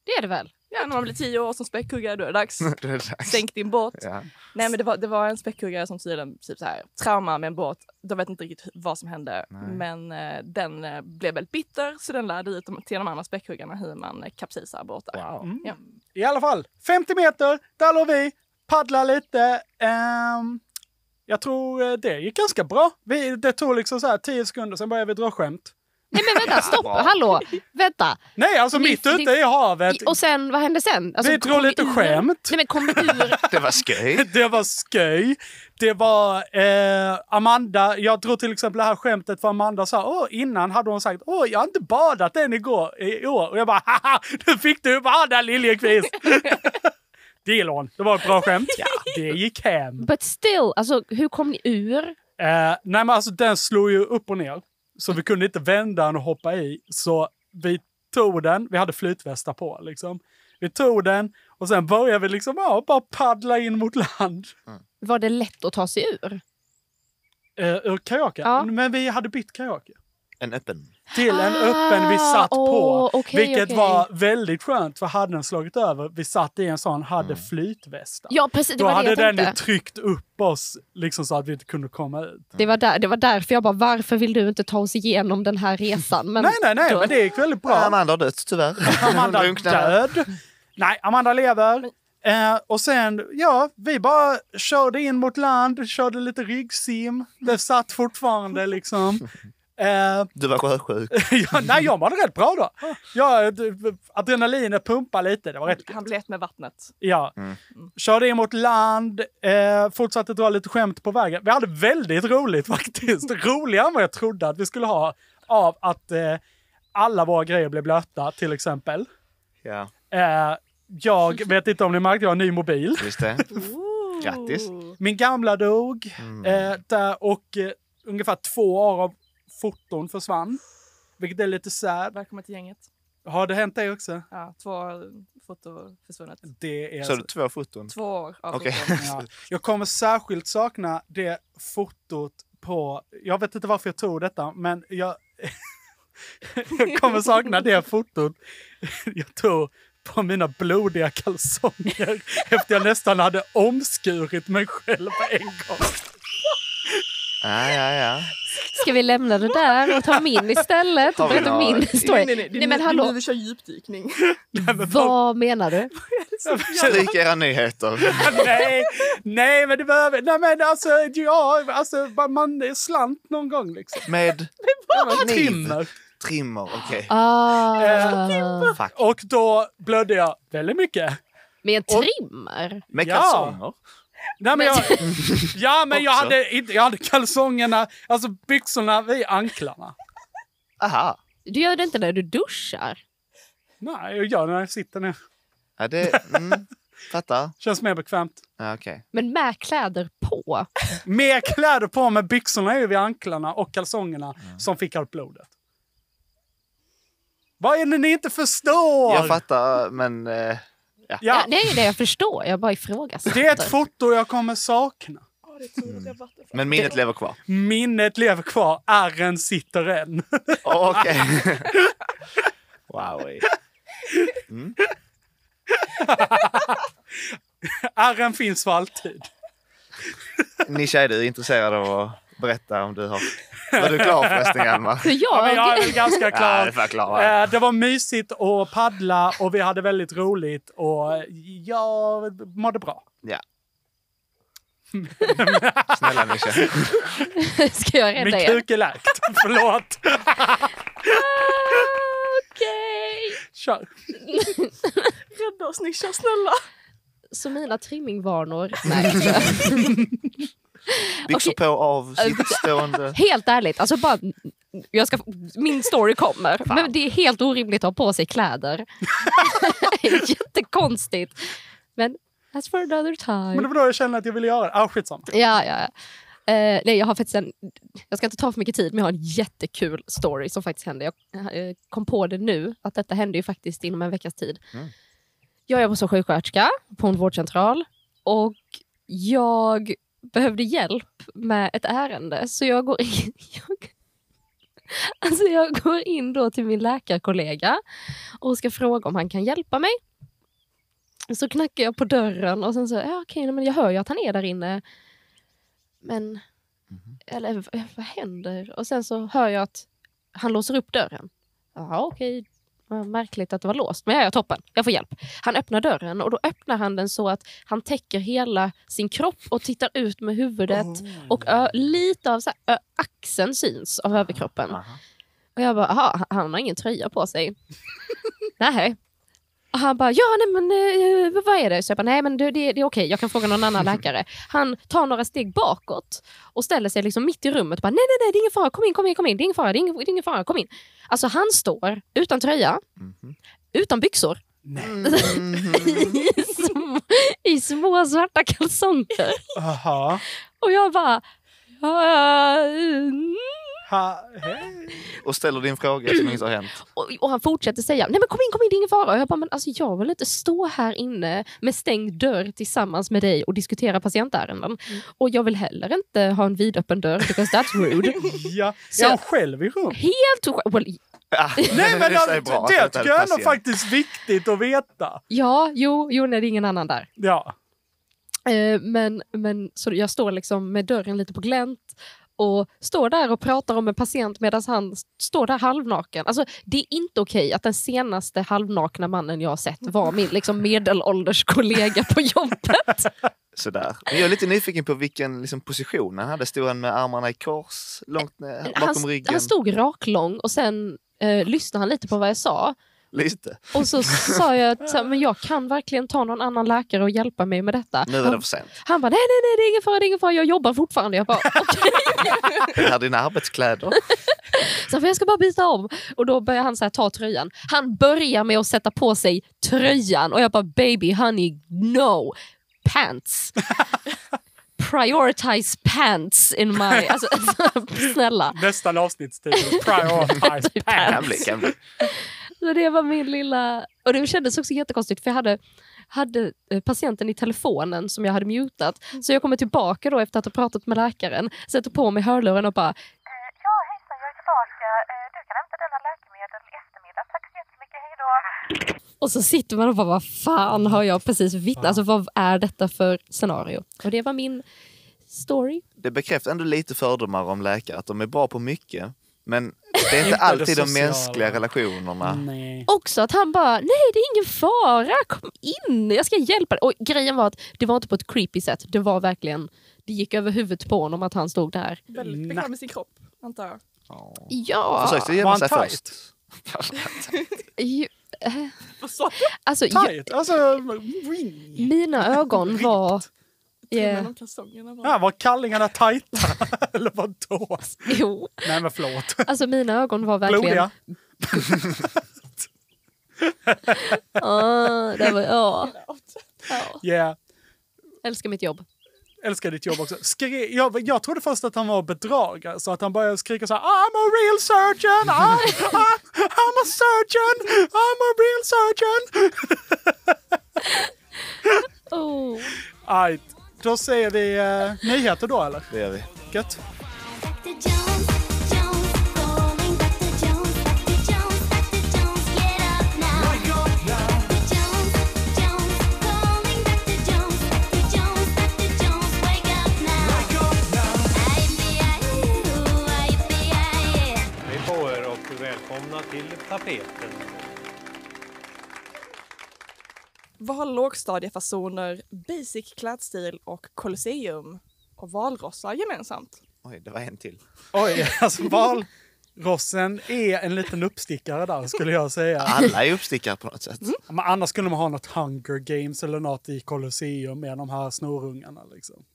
Speaker 4: Det är det väl?
Speaker 6: ja, när man blir tio år som späckhuggare då är det dags.
Speaker 3: Det är dags.
Speaker 6: Sänk din båt.
Speaker 3: Ja.
Speaker 6: Nej men det var, det var en späckhuggare som tydligen typ så här, trauma med en båt. De vet inte riktigt hu- vad som hände
Speaker 3: Nej.
Speaker 6: men eh, den eh, blev väldigt bitter så den lärde ut dem- till de andra späckhuggarna hur man eh, kapsisar båtar.
Speaker 3: Wow.
Speaker 5: Mm.
Speaker 6: Ja.
Speaker 5: I alla fall, 50 meter, där låg vi, paddla lite. Ehm, jag tror eh, det gick ganska bra. Vi, det tog liksom så här 10 sekunder, sen började vi dra skämt.
Speaker 4: Nej men vänta, stopp, hallå, vänta.
Speaker 5: Nej, alltså
Speaker 4: Vi-
Speaker 5: mitt
Speaker 4: vi-
Speaker 5: ute i havet.
Speaker 4: I, och sen, vad hände sen? Alltså,
Speaker 5: vi
Speaker 4: kom
Speaker 5: drog
Speaker 4: vi
Speaker 5: lite
Speaker 4: ur-
Speaker 5: skämt.
Speaker 4: Nej men kom vi ur?
Speaker 3: Det var skoj.
Speaker 5: Det var sköj. Det var eh, Amanda. Jag tror till exempel det här skämtet för Amanda sa, åh, innan hade hon sagt, åh, jag har inte badat än igår, i år. Och jag bara, haha, nu fick du bada Liljekvist. det gillade hon. Det var ett bra skämt. Ja, det gick hem.
Speaker 4: But still, alltså hur kom ni ur?
Speaker 5: Eh, nej men alltså den slog ju upp och ner. Så vi kunde inte vända den och hoppa i. Så vi tog den, vi hade flytvästar på liksom. Vi tog den och sen började vi liksom ja, bara paddla in mot land.
Speaker 4: Var det lätt att ta sig ur?
Speaker 5: Eh, ur kajaken.
Speaker 4: Ja.
Speaker 5: Men vi hade bytt kajak.
Speaker 3: En öppen.
Speaker 5: Till en
Speaker 4: Ah,
Speaker 5: öppen vi satt på.
Speaker 4: åh, okej,
Speaker 5: vilket
Speaker 4: okej.
Speaker 5: var väldigt skönt för hade den slagit över, vi satt i en sån, hade flytvästar.
Speaker 4: Ja precis, det
Speaker 5: Då
Speaker 4: var det
Speaker 5: hade
Speaker 4: jag
Speaker 5: den ju
Speaker 4: tänkte.
Speaker 5: tryckt upp oss liksom så att vi inte kunde komma ut.
Speaker 4: Det var, där, det var därför jag bara, varför vill du inte ta oss igenom den här resan? Men,
Speaker 5: Nej, nej, nej,
Speaker 4: då-
Speaker 5: men det gick väldigt bra.
Speaker 3: Amanda har dött tyvärr.
Speaker 5: Amanda
Speaker 3: Drunknade.
Speaker 5: död. Nej, Amanda lever. Eh, och sen, ja, vi bara körde in mot land, körde lite ryggsim. Det satt fortfarande liksom. Eh,
Speaker 3: Du var sjösjuk.
Speaker 5: ja, nej, jag mådde rätt bra då. Ja, d- adrenalinet pumpade lite. Det var rätt
Speaker 6: Han blev ett med vattnet.
Speaker 5: Ja. Körde in mot land, eh, fortsatte dra lite skämt på vägen. Vi hade väldigt roligt faktiskt. Roligare än vad jag trodde att vi skulle ha av att eh, alla våra grejer blev blöta till exempel.
Speaker 3: Ja,
Speaker 5: Eh, jag vet inte om ni märkte, jag har en ny mobil.
Speaker 3: just det. Grattis.
Speaker 5: Min gamla dog
Speaker 3: Mm.
Speaker 5: eh, där och eh, ungefär två år av foton försvann. Vilket är lite sad.
Speaker 6: Välkommen till gänget.
Speaker 5: Har det hänt dig också?
Speaker 6: Ja, två foto försvunnet.
Speaker 5: Det är
Speaker 3: Så har du två foton?
Speaker 6: Två år av
Speaker 3: Okej.
Speaker 6: foton.
Speaker 5: Ja. Jag kommer särskilt sakna det fotot på, jag vet inte varför jag tog detta, men jag, jag kommer sakna det fotot jag tog på mina blodiga kalsonger efter jag nästan hade omskurit mig själv en gång.
Speaker 3: Ja, ja, ja.
Speaker 4: Ska vi lämna det där och ta min istället? Och
Speaker 3: Har vi
Speaker 4: berätta
Speaker 3: några-
Speaker 4: min historia?
Speaker 6: Nej, nej, nej.
Speaker 4: Nej, men hallå.
Speaker 6: Du kör djupdykning.
Speaker 4: Vad menar du?
Speaker 3: Stryk era nyheter.
Speaker 5: nej, nej, men det behöver, nej men alltså, ja, alltså man- man är slant någon gång liksom.
Speaker 3: Med kniv.
Speaker 5: Trimmer.
Speaker 3: Trimmer, okej.
Speaker 4: Ah,
Speaker 3: Fuck.
Speaker 5: Och då blödde jag väldigt mycket.
Speaker 4: med en trimmer?
Speaker 3: Med
Speaker 5: Ja.
Speaker 3: kalsonger?
Speaker 5: Nej, men jag, ja, men jag
Speaker 3: Också.
Speaker 5: hade, inte- jag hade kalsongerna, alltså byxorna vid anklarna.
Speaker 3: Aha.
Speaker 4: Du gör det inte när du duschar?
Speaker 5: Nej, jag gör det när jag sitter ner.
Speaker 3: Ja, det... Mm. Fattar.
Speaker 5: Känns mer bekvämt.
Speaker 3: Ja, okej.
Speaker 4: Men med kläder på?
Speaker 5: Mer kläder på med byxorna är ju vid anklarna och kalsongerna som fick allt blodet. Vad är det ni inte förstår?
Speaker 3: Jag fattar, men... eh,
Speaker 4: Ja.
Speaker 5: ja,
Speaker 4: det är ju det jag förstår. Jag bara ifrågasätter.
Speaker 5: det är ett foto jag kommer sakna.
Speaker 6: Ja, det är tur att jag har vatten.
Speaker 3: Men minnet lever kvar.
Speaker 5: Minnet lever kvar, ärren sitter än.
Speaker 3: Oh, Okej. wow. Mm.
Speaker 5: Ärren finns för alltid.
Speaker 3: Nisha, är du intresserad av att berätta om du har... Var du klar förresten, Hjalmar?
Speaker 4: För
Speaker 5: Ja,
Speaker 4: jag,
Speaker 5: men jag är väl ganska
Speaker 3: Ja,
Speaker 5: klar.
Speaker 3: det var klar.
Speaker 5: Eh, Det var mysigt att paddla och vi hade väldigt roligt och eh, jag mådde bra.
Speaker 3: Ja. Snälla Nisha.
Speaker 4: ska jag
Speaker 5: Min
Speaker 4: rädda er?
Speaker 5: kuk är läkt. Förlåt.
Speaker 4: Okej!
Speaker 5: Kör.
Speaker 6: Rädda oss Nisha, snälla.
Speaker 4: Så mina trimmingvanor... Nej,
Speaker 3: Byxor på av sittstående.
Speaker 4: Helt ärligt, alltså bara, jag ska, min story kommer. Men det är helt orimligt att ha på sig kläder. Det är Jättekonstigt. Men that's for another time.
Speaker 5: Men det var då jag kände att jag ville göra det. Ah, skitsamma.
Speaker 4: Ja, ja, ja. Eh, nej, jag har faktiskt en, jag ska inte ta för mycket tid, men jag har en jättekul story som faktiskt hände. Jag eh, kom på det nu, att detta hände ju faktiskt inom en veckas tid.
Speaker 3: Mm.
Speaker 4: Jag jobbar som sjuksköterska på en vårdcentral och jag behövde hjälp med ett ärende, så jag går in... Jag, alltså jag går in då till min läkarkollega och ska fråga om han kan hjälpa mig. Så knackar jag på dörren och sen så, ja okej, nej, men jag hör ju att han är där inne. Men, eller v- vad händer? Och sen så hör jag att han låser upp dörren. Ja, okej. Vad Märkligt att det var låst, men jag är toppen. Jag får hjälp. Han öppnar dörren och då öppnar han den så att han täcker hela sin kropp och tittar ut med huvudet och ö- lite av så här, ö- axeln syns av överkroppen.
Speaker 3: Aha.
Speaker 4: Och jag bara, aha, han har ingen tröja på sig. nej. Och han bara, ja nej men eh, vad är det? Så jag bara, nej men det, det, det är okej, jag kan fråga någon annan läkare. Han tar några steg bakåt och ställer sig liksom mitt i rummet och bara, nej nej nej det är ingen fara, kom in, kom in, kom in, det är ingen fara, det är ingen, det är ingen fara, kom in. Alltså han står utan tröja,
Speaker 3: Mhm.
Speaker 4: utan byxor,
Speaker 3: Mhm.
Speaker 4: i, små, i små svarta kalsonger.
Speaker 5: Aha.
Speaker 4: Och jag bara, ja, mm.
Speaker 5: Ha, hej.
Speaker 3: Och ställer din fråga som inget har hänt.
Speaker 4: Och, och han fortsätter säga, nej men kom in, kom in, det är ingen fara. Och jag bara, men alltså jag vill inte stå här inne med stängd dörr tillsammans med dig och diskutera patientärenden. Och jag vill heller inte ha en vidöppen dörr, because that's rude.
Speaker 5: Ja.
Speaker 4: Så-
Speaker 5: Är han själv i rummet?
Speaker 4: Helt och- well,
Speaker 3: Ah,
Speaker 5: Nej, men
Speaker 3: det
Speaker 5: det,
Speaker 3: är bra att
Speaker 5: det
Speaker 3: inte
Speaker 5: tycker
Speaker 3: hade
Speaker 5: jag ändå
Speaker 3: patient.
Speaker 5: faktiskt viktigt att veta.
Speaker 4: ja, jo, jo, nej det är ingen annan där.
Speaker 5: Ja.
Speaker 4: Eh, men, men så jag står liksom med dörren lite på glänt och står där och pratar om en patient medan han s- står där halvnaken. Alltså, det är inte okej att den senaste halvnakna mannen jag har sett var min liksom, medelålders kollega på jobbet.
Speaker 3: Sådär. Men jag är lite nyfiken på vilken liksom, position han hade. Stod han med armarna i kors, långt ner, bakom
Speaker 4: Han,
Speaker 3: ryggen?
Speaker 4: han stod raklång och sen eh, lyssnade han lite på vad jag sa.
Speaker 3: Lite.
Speaker 4: Och så sa jag att så här, men jag kan verkligen ta någon annan läkare och hjälpa mig med detta.
Speaker 3: Nu är det
Speaker 4: Han,
Speaker 3: för sent.
Speaker 4: han bara, nej, nej, nej, det är ingen fara, det är ingen fara, jag jobbar fortfarande. Jag bara, okej.
Speaker 3: Det här är dina arbetskläder.
Speaker 4: Så för jag ska bara byta om. Och då börjar han så här, ta tröjan. Han börjar med att sätta på sig tröjan och jag bara baby honey no. pants. Prioritize pants in my... Alltså, snälla.
Speaker 5: Nästan avsnittstitel. Prioritize
Speaker 3: Kan
Speaker 5: pants.
Speaker 3: bli, kan bli.
Speaker 4: Så det var min lilla... Och det kändes också jättekonstigt för jag hade, hade eh, patienten i telefonen som jag hade mutat. Så jag kommer tillbaka då efter att ha pratat med läkaren, sätter på mig hörlurarna och bara
Speaker 11: Eh, Ja, hejsan, jag är tillbaka. Eh, Du kan hämta dina läkemedel i eftermiddag. Tack så jättemycket, hej då.
Speaker 4: och så sitter man och bara, vad fan har jag precis vittnat? Alltså vad är detta för scenario? Och det var min story.
Speaker 3: Det bekräftar ändå lite fördomar om läkare, att de är bra på mycket. Men det är inte alltid de
Speaker 5: sociala.
Speaker 3: mänskliga relationerna.
Speaker 4: Mm.
Speaker 5: Nej.
Speaker 4: Också att han bara, nej det är ingen fara, kom in, jag ska hjälpa dig. Och grejen var att det var inte på ett creepy sätt, det var verkligen, det gick över huvudet på honom att han stod där.
Speaker 6: Väldigt
Speaker 3: Mm.
Speaker 6: bekväm med sin kropp, antar jag.
Speaker 4: Ja,
Speaker 3: Försökte gömma
Speaker 5: Var
Speaker 3: sig
Speaker 5: han tight?
Speaker 3: först.
Speaker 4: ju,
Speaker 6: Vad sa du?
Speaker 4: alltså jag,
Speaker 5: Tight. Alltså, ring.
Speaker 4: mina ögon var... eh, Yeah.
Speaker 6: Mellan kalsongerna bara.
Speaker 5: Ja, var kallingarna tajta? Eller vadå?
Speaker 4: Jo,
Speaker 5: Nej men förlåt.
Speaker 4: alltså mina ögon var verkligen...
Speaker 5: Blodiga.
Speaker 4: Ah, det var, ja. Ja.
Speaker 5: Yeah.
Speaker 4: Älskar mitt jobb.
Speaker 5: Älskar ditt jobb också. Skri- jag, jag trodde först att han var bedragare, så att han började skrika så här I'm a real surgeon! I'm, I'm, I'm a surgeon! I'm a real surgeon!
Speaker 4: Oh.
Speaker 5: Ajt. Då säger vi eh, nyheter då eller?
Speaker 3: Det gör vi.
Speaker 5: Gött.
Speaker 10: Hej på er och välkomna till tapeten.
Speaker 6: Vad har lågstadiefasoner, basic klädstil och Colosseum och valrossar gemensamt?
Speaker 3: Oj, det var en till.
Speaker 5: Oj, alltså valrossen är en liten uppstickare där skulle jag säga.
Speaker 3: Alla är uppstickare på något sätt.
Speaker 4: Mm.
Speaker 5: Men annars skulle man ha något Hunger Games eller något i Colosseum med de här snorungarna liksom.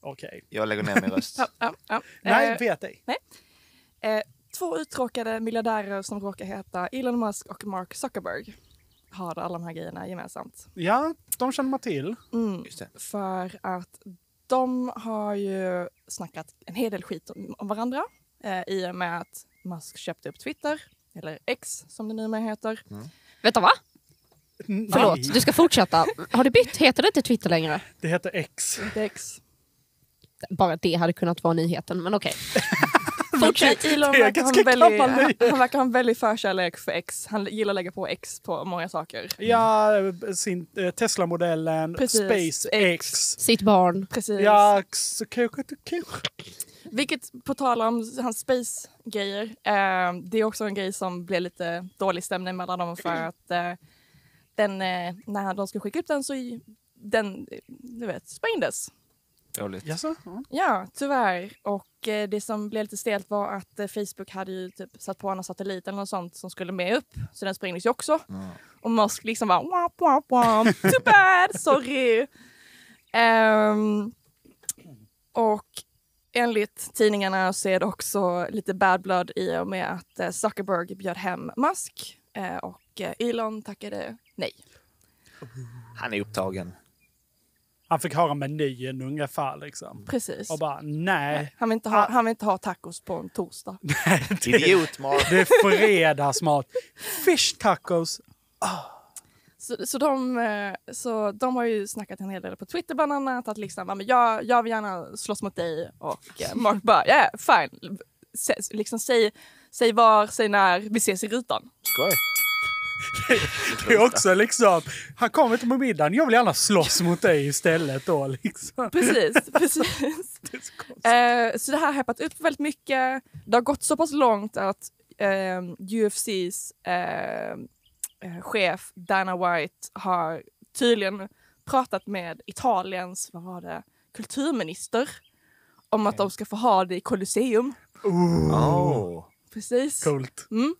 Speaker 5: Okej.
Speaker 3: Jag lägger ner min röst.
Speaker 6: Ja, ja, ja.
Speaker 5: Nej,
Speaker 6: Eh,
Speaker 5: vet ej.
Speaker 6: Eh, två uttråkade miljardärer som råkar heta Elon Musk och Mark Zuckerberg har alla de här grejerna gemensamt.
Speaker 5: Ja, de känner man till.
Speaker 6: Mm,
Speaker 3: Just det.
Speaker 6: för att de har ju snackat en hel del skit om, om varandra eh, i och med att Musk köpte upp Twitter, eller X som det numera heter.
Speaker 4: Vänta va? Förlåt,
Speaker 5: Nej,
Speaker 4: du ska fortsätta. Har du bytt? Heter det inte Twitter längre?
Speaker 5: det heter X.
Speaker 6: Inte X.
Speaker 4: Bara det hade kunnat vara nyheten, men okej.
Speaker 6: Fortsätt. Elon
Speaker 5: det är
Speaker 6: verkar ha
Speaker 5: ganska
Speaker 6: en väldig-
Speaker 5: gammal
Speaker 6: han-
Speaker 5: nyhet.
Speaker 6: han verkar ha en väldig förkärlek för X. Han gillar att lägga på X på många saker.
Speaker 5: Ja, sin eh, Tesla-modellen,
Speaker 6: Precis.
Speaker 5: SpaceX.
Speaker 4: Sitt barn.
Speaker 6: Precis.
Speaker 5: Ja, så kanske inte kanske.
Speaker 6: Vilket, på tal om hans space-grejer, eh, det är också en grej som blev lite dålig stämning mellan dem för att eh, den, eh, när de skulle skicka upp den så i- den, eh, du vet, sprängdes.
Speaker 3: Roligt.
Speaker 5: Jaså?
Speaker 6: Ja, tyvärr. Och eh, det som blev lite stelt var att eh, Facebook hade ju typ satt på en satellit eller något sånt som skulle med upp, så den sprängdes ju också. Och Musk liksom bara womp, womp, womp. Too bad, sorry. Ehm, och enligt tidningarna så är det också lite bad blood i och med att eh, Zuckerberg bjöd hem Musk eh, och eh, Elon tackade nej.
Speaker 3: Han är upptagen.
Speaker 5: Han fick höra menyn ungefär liksom.
Speaker 6: Precis.
Speaker 5: Och bara nej,
Speaker 6: Han vill, inte ha, han vill inte ha tacos på en torsdag.
Speaker 3: Idiot, Mark.
Speaker 5: det är fredagsmat. Fish tacos.
Speaker 6: Så, så, de, eh, så de har ju snackat en hel del på Twitter bland annat att liksom, ja, men jag, jag vill gärna slåss mot dig och eh, Mark bara yeah, fine. Sä, liksom, säg, säg var, säg när, vi ses i rutan.
Speaker 3: Skoj.
Speaker 5: Det är också liksom, han kommer inte på middagen, jag vill gärna slåss mot dig istället då liksom.
Speaker 6: Precis, precis.
Speaker 5: Det är så konstigt.
Speaker 6: Eh, så det här har hypat upp väldigt mycket. Det har gått så pass långt att eh, UFCs eh, eh, chef Dana White har tydligen pratat med Italiens, vad var det, kulturminister om att de ska få ha det i Colosseum.
Speaker 3: Oh.
Speaker 6: Precis.
Speaker 5: Coolt.
Speaker 6: Mm.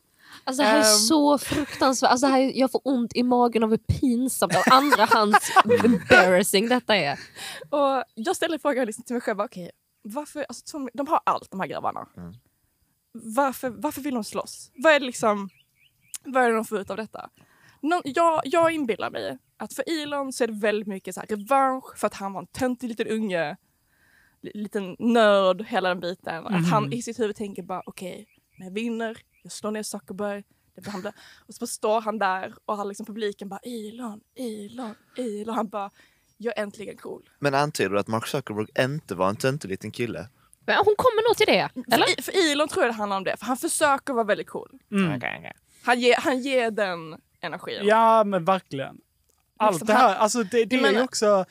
Speaker 4: Alltså det här är
Speaker 6: Ehm.
Speaker 4: så fruktansvärt. Alltså, det här är, jag får ont i magen av hur pinsamt av andra hands embarrassing detta är.
Speaker 6: Och jag ställer frågan liksom till mig själv, okej, varför, alltså, som- de har allt de här grabbarna.
Speaker 3: Mm.
Speaker 6: Varför, varför vill de slåss? Vad är det liksom, vad är det de får ut av detta? Nå, jag, jag inbillar mig Att för Elon så är det väldigt mycket så här revansch för att han var en töntig liten unge, li- liten nörd, hela den biten.
Speaker 12: Mhm.
Speaker 6: Att han i sitt huvud tänker bara okej, när jag vinner, jag slår ner Zuckerberg, det blir han bla- Och så bara står han där och han liksom publiken bara Elon, Elon, Elon. Han bara, jag är äntligen cool.
Speaker 3: Men antyder du att Mark Zuckerberg inte var en töntig liten kille?
Speaker 4: Men hon kommer nog till det.
Speaker 6: För, för Elon tror jag det handlar om det, för han försöker vara väldigt cool.
Speaker 5: Mm.
Speaker 6: Han ger, han ger den energin.
Speaker 5: Ja, men verkligen. Allt
Speaker 6: Liksom
Speaker 5: det här,
Speaker 6: han-
Speaker 5: alltså det, det
Speaker 6: Jag
Speaker 5: är ju
Speaker 6: menar-
Speaker 5: också,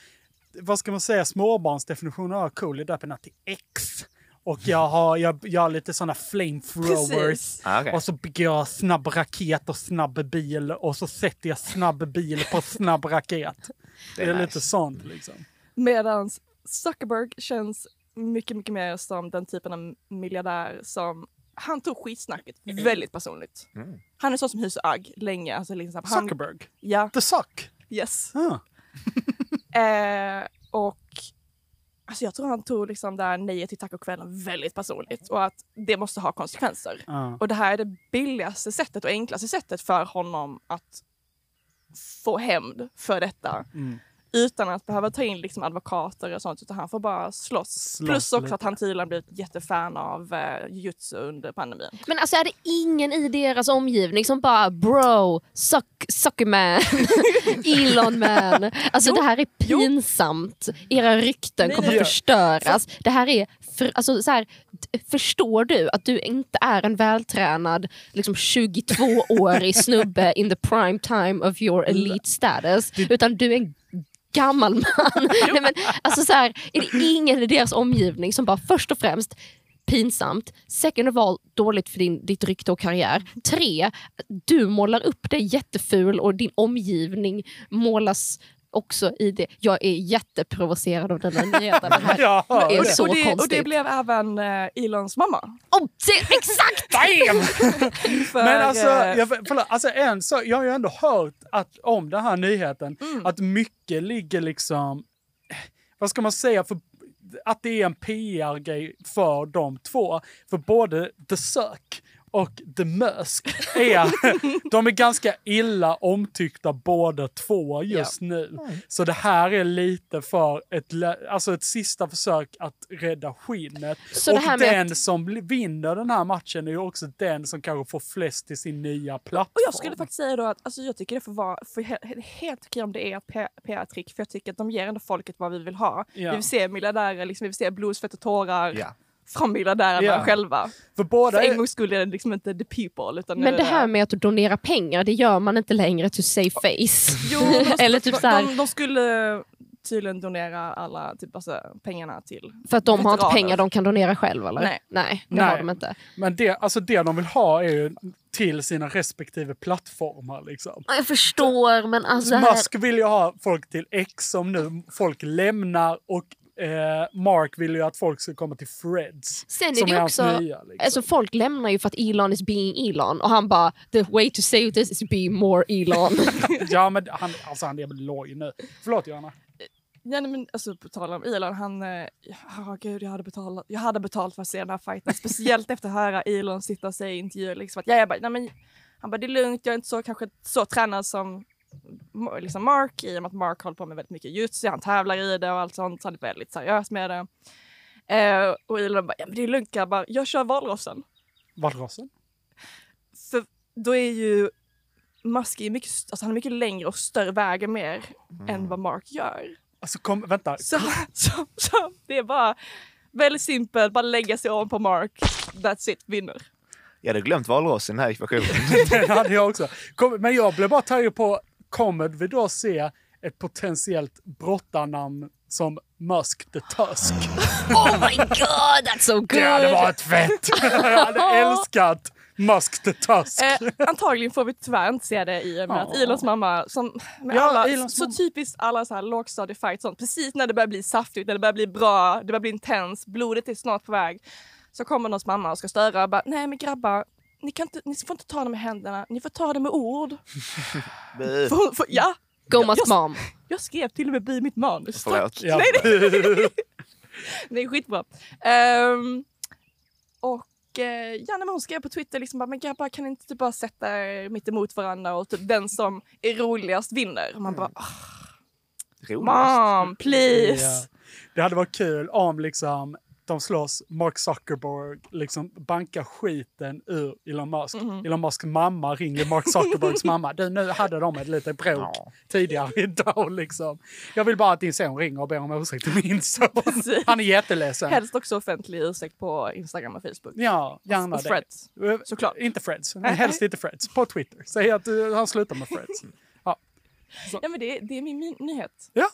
Speaker 5: vad ska man säga, småbarnsdefinitionen av cool är döpt till X. Och jag har, jag, jag har lite sådana flamethrowers.
Speaker 6: Precis. Ah, okej.
Speaker 5: Och så bygger jag snabb raket och snabb bil. Och så sätter jag snabb bil på snabb raket.
Speaker 6: Det
Speaker 5: Det
Speaker 6: är
Speaker 5: är,
Speaker 6: nice.
Speaker 5: lite sånt liksom.
Speaker 6: Medan Zuckerberg känns mycket, mycket mer som den typen av miljardär som han tog skitsnacket väldigt personligt.
Speaker 5: Mm.
Speaker 6: Han är sån som hyser agg länge. Alltså liksom, han,
Speaker 5: Zuckerberg.
Speaker 6: Ja.
Speaker 5: The suck.
Speaker 6: Yes.
Speaker 5: Ah.
Speaker 6: eh, och alltså jag tror han tog liksom det här nejet till tacokvällen väldigt personligt och att det måste ha konsekvenser.
Speaker 5: Ja.
Speaker 6: Och det här är det billigaste sättet och enklaste sättet för honom att få hämnd för detta
Speaker 5: Mm.
Speaker 6: utan att behöva ta in liksom advokater och sånt utan han får bara slåss.
Speaker 4: Slåss
Speaker 6: Plus också
Speaker 4: lite.
Speaker 6: att han tydligen blivit jättefan av eh, jujutsu under pandemin.
Speaker 4: Men alltså är det ingen i deras omgivning som bara bro, suck, suckerman, Elon man. Alltså det här är pinsamt. Era rykten
Speaker 6: Nej,
Speaker 4: kommer
Speaker 6: nej.
Speaker 4: förstöras. Det här är, för, alltså så här, d- förstår du att du inte är en vältränad liksom 22-årig snubbe in the prime time of your
Speaker 6: Mm.
Speaker 4: elite status. Utan du är en gammal man. Nej, men, alltså så här, är det ingen i deras omgivning som bara först och främst pinsamt. Second of all, dåligt för din, ditt rykte och karriär. Tre, du målar upp dig jätteful och din omgivning målas också i det. Jag är jätteprovocerad av den här nyheten. Det här
Speaker 5: Ja,
Speaker 4: är
Speaker 6: och, det,
Speaker 4: så
Speaker 6: och, det, och
Speaker 4: konstigt.
Speaker 6: det blev även eh, Elons mamma.
Speaker 4: Oh, exakt!
Speaker 6: För,
Speaker 5: Men alltså,
Speaker 6: eh,
Speaker 5: jag, förlåt, alltså en så, jag har ju ändå hört att, om den här nyheten
Speaker 4: Mm.
Speaker 5: att mycket ligger liksom, vad ska man säga, för, att det är en PR-grej för de två. För både The Sök och The Musk är, de är ganska illa omtyckta båda två just nu.
Speaker 4: Mm.
Speaker 5: Så det här är lite för ett, lä- alltså ett sista försök att rädda skinnet.
Speaker 4: Så
Speaker 5: och
Speaker 4: det här med
Speaker 5: den som bli- vinner den här matchen är ju också den som kanske får flest till sin nya plattform.
Speaker 6: Och jag skulle faktiskt säga då att alltså, jag tycker det får vara för he- he- helt okej om det är ett PR-trick för jag tycker att de ger ändå folket vad vi vill ha.
Speaker 5: Ja.
Speaker 6: Vi vill se miljardärer, liksom, vi vill se blod, svett och tårar
Speaker 5: Ja.
Speaker 6: från miljardärerna
Speaker 5: Ja.
Speaker 6: själva.
Speaker 5: För, båda
Speaker 6: en
Speaker 5: är-
Speaker 6: gångs skull är det liksom inte the people. Utan nu
Speaker 4: Men
Speaker 6: är
Speaker 4: det här med att donera pengar, det gör man inte längre to save face.
Speaker 6: Jo, de,
Speaker 4: Eller typ
Speaker 6: de,
Speaker 4: så här,
Speaker 6: de, de skulle tydligen donera alla typ, alltså, pengarna till
Speaker 4: för att de har inte
Speaker 6: veteraner.
Speaker 4: pengar de kan donera själv eller?
Speaker 6: Nej.
Speaker 4: Nej, det har de inte.
Speaker 5: Men det, alltså det de vill ha är ju till sina respektive plattformar. Liksom.
Speaker 4: Ja, Jag förstår men alltså... det här-
Speaker 5: Musk vill ju ha folk till X som nu folk lämnar och eh, Mark vill ju att folk ska komma till Freds.
Speaker 4: Sen är
Speaker 5: som
Speaker 4: det ju
Speaker 5: hans
Speaker 4: också,
Speaker 5: nya, liksom.
Speaker 4: alltså folk lämnar ju för att Elon is being Elon och han bara the way to save this is to be more Elon.
Speaker 5: ja men han, alltså han är väl loj nu. Förlåt Johanna.
Speaker 6: Ja, nej, men alltså på tal om Elon, han... eh, ah, gud, jag hade, betalat, jag hade betalt för att se den här fighten. Speciellt efter att höra Elon sitta och säga i intervjuer liksom att ja, jag bara, nej, men, han bara, det är lugnt, jag är inte så kanske så tränad som Ma- liksom Mark i och med att Mark håller på med väldigt mycket jutsu, han tävlar i det och allt sånt, så han är väldigt seriös med det. Eh, och Elon bara, ja men det är lugnt grabbar, jag kör valrossen.
Speaker 5: Valrossen?
Speaker 6: För då är ju Musk är mycket, st- alltså han är mycket längre och större väger mer än vad Mark gör.
Speaker 5: Alltså kom, vänta.
Speaker 6: Så, så, så det är bara väldigt simpelt, bara lägga sig ovanpå Mark. That's it, vinner.
Speaker 3: Jag hade glömt valrossen i den här ekvationen.
Speaker 5: Den hade jag också. Kom, men jag blev bara taggad på, kommer vi då se ett potentiellt brottarnamn som Musk the Tusk?
Speaker 4: oh my god that's so good!
Speaker 5: Det hade varit fett! Jag hade älskat Musk the Tusk.
Speaker 6: Eh, antagligen får vi tyvärr inte se det i och med att
Speaker 5: Ja.
Speaker 6: Ilons mamma, som med
Speaker 5: Ja,
Speaker 6: alla,
Speaker 5: Elons
Speaker 6: så
Speaker 5: mamma.
Speaker 6: typiskt alla så här lågstadiefights, sånt, precis när det börjar bli saftigt, när det börjar bli bra, det börjar bli intens, blodet är snart på väg, så kommer någons mamma och ska störa och bara, nej men grabbar, ni, kan inte, ni får inte ta det med händerna, ni får ta det med ord.
Speaker 3: Bö.
Speaker 6: För, hon- för, ja,
Speaker 4: Go Musk mom.
Speaker 6: jag skrev till och med i mitt manus.
Speaker 3: Förlåt.
Speaker 6: Tack.
Speaker 3: Ja.
Speaker 6: Nej, nej. nej, skitbra. Ehm, och Och eh, ja, nej, men hon skrev på Twitter liksom bara, men grabbar kan ni inte typ bara sätta er mitt emot varandra och typ den som är roligast vinner. Och man bara, "Ah,
Speaker 5: Mm.
Speaker 6: mom, please.
Speaker 5: Ja. Det hade varit kul om liksom de slåss, Mark Zuckerberg liksom bankar skiten ur Elon Musk.
Speaker 6: Mhm.
Speaker 5: Elon Musks mamma ringer Mark Zuckerbergs mamma. Du, nu hade de ett litet bråk tidigare idag liksom. Jag vill bara att din son ringer och ber om ursäkt till min son. Han är jätteledsen.
Speaker 6: Helst också offentlig ursäkt på Instagram och Facebook.
Speaker 5: Ja, gärna
Speaker 6: och
Speaker 5: det.
Speaker 6: Freds.
Speaker 5: Eh, Inte Freds. Men helst inte Freds. På Twitter. Säg att eh, han slutar med Freds.
Speaker 6: Mm.
Speaker 5: Ja.
Speaker 6: Ja, men det, det är min, min nyhet.
Speaker 5: Ja.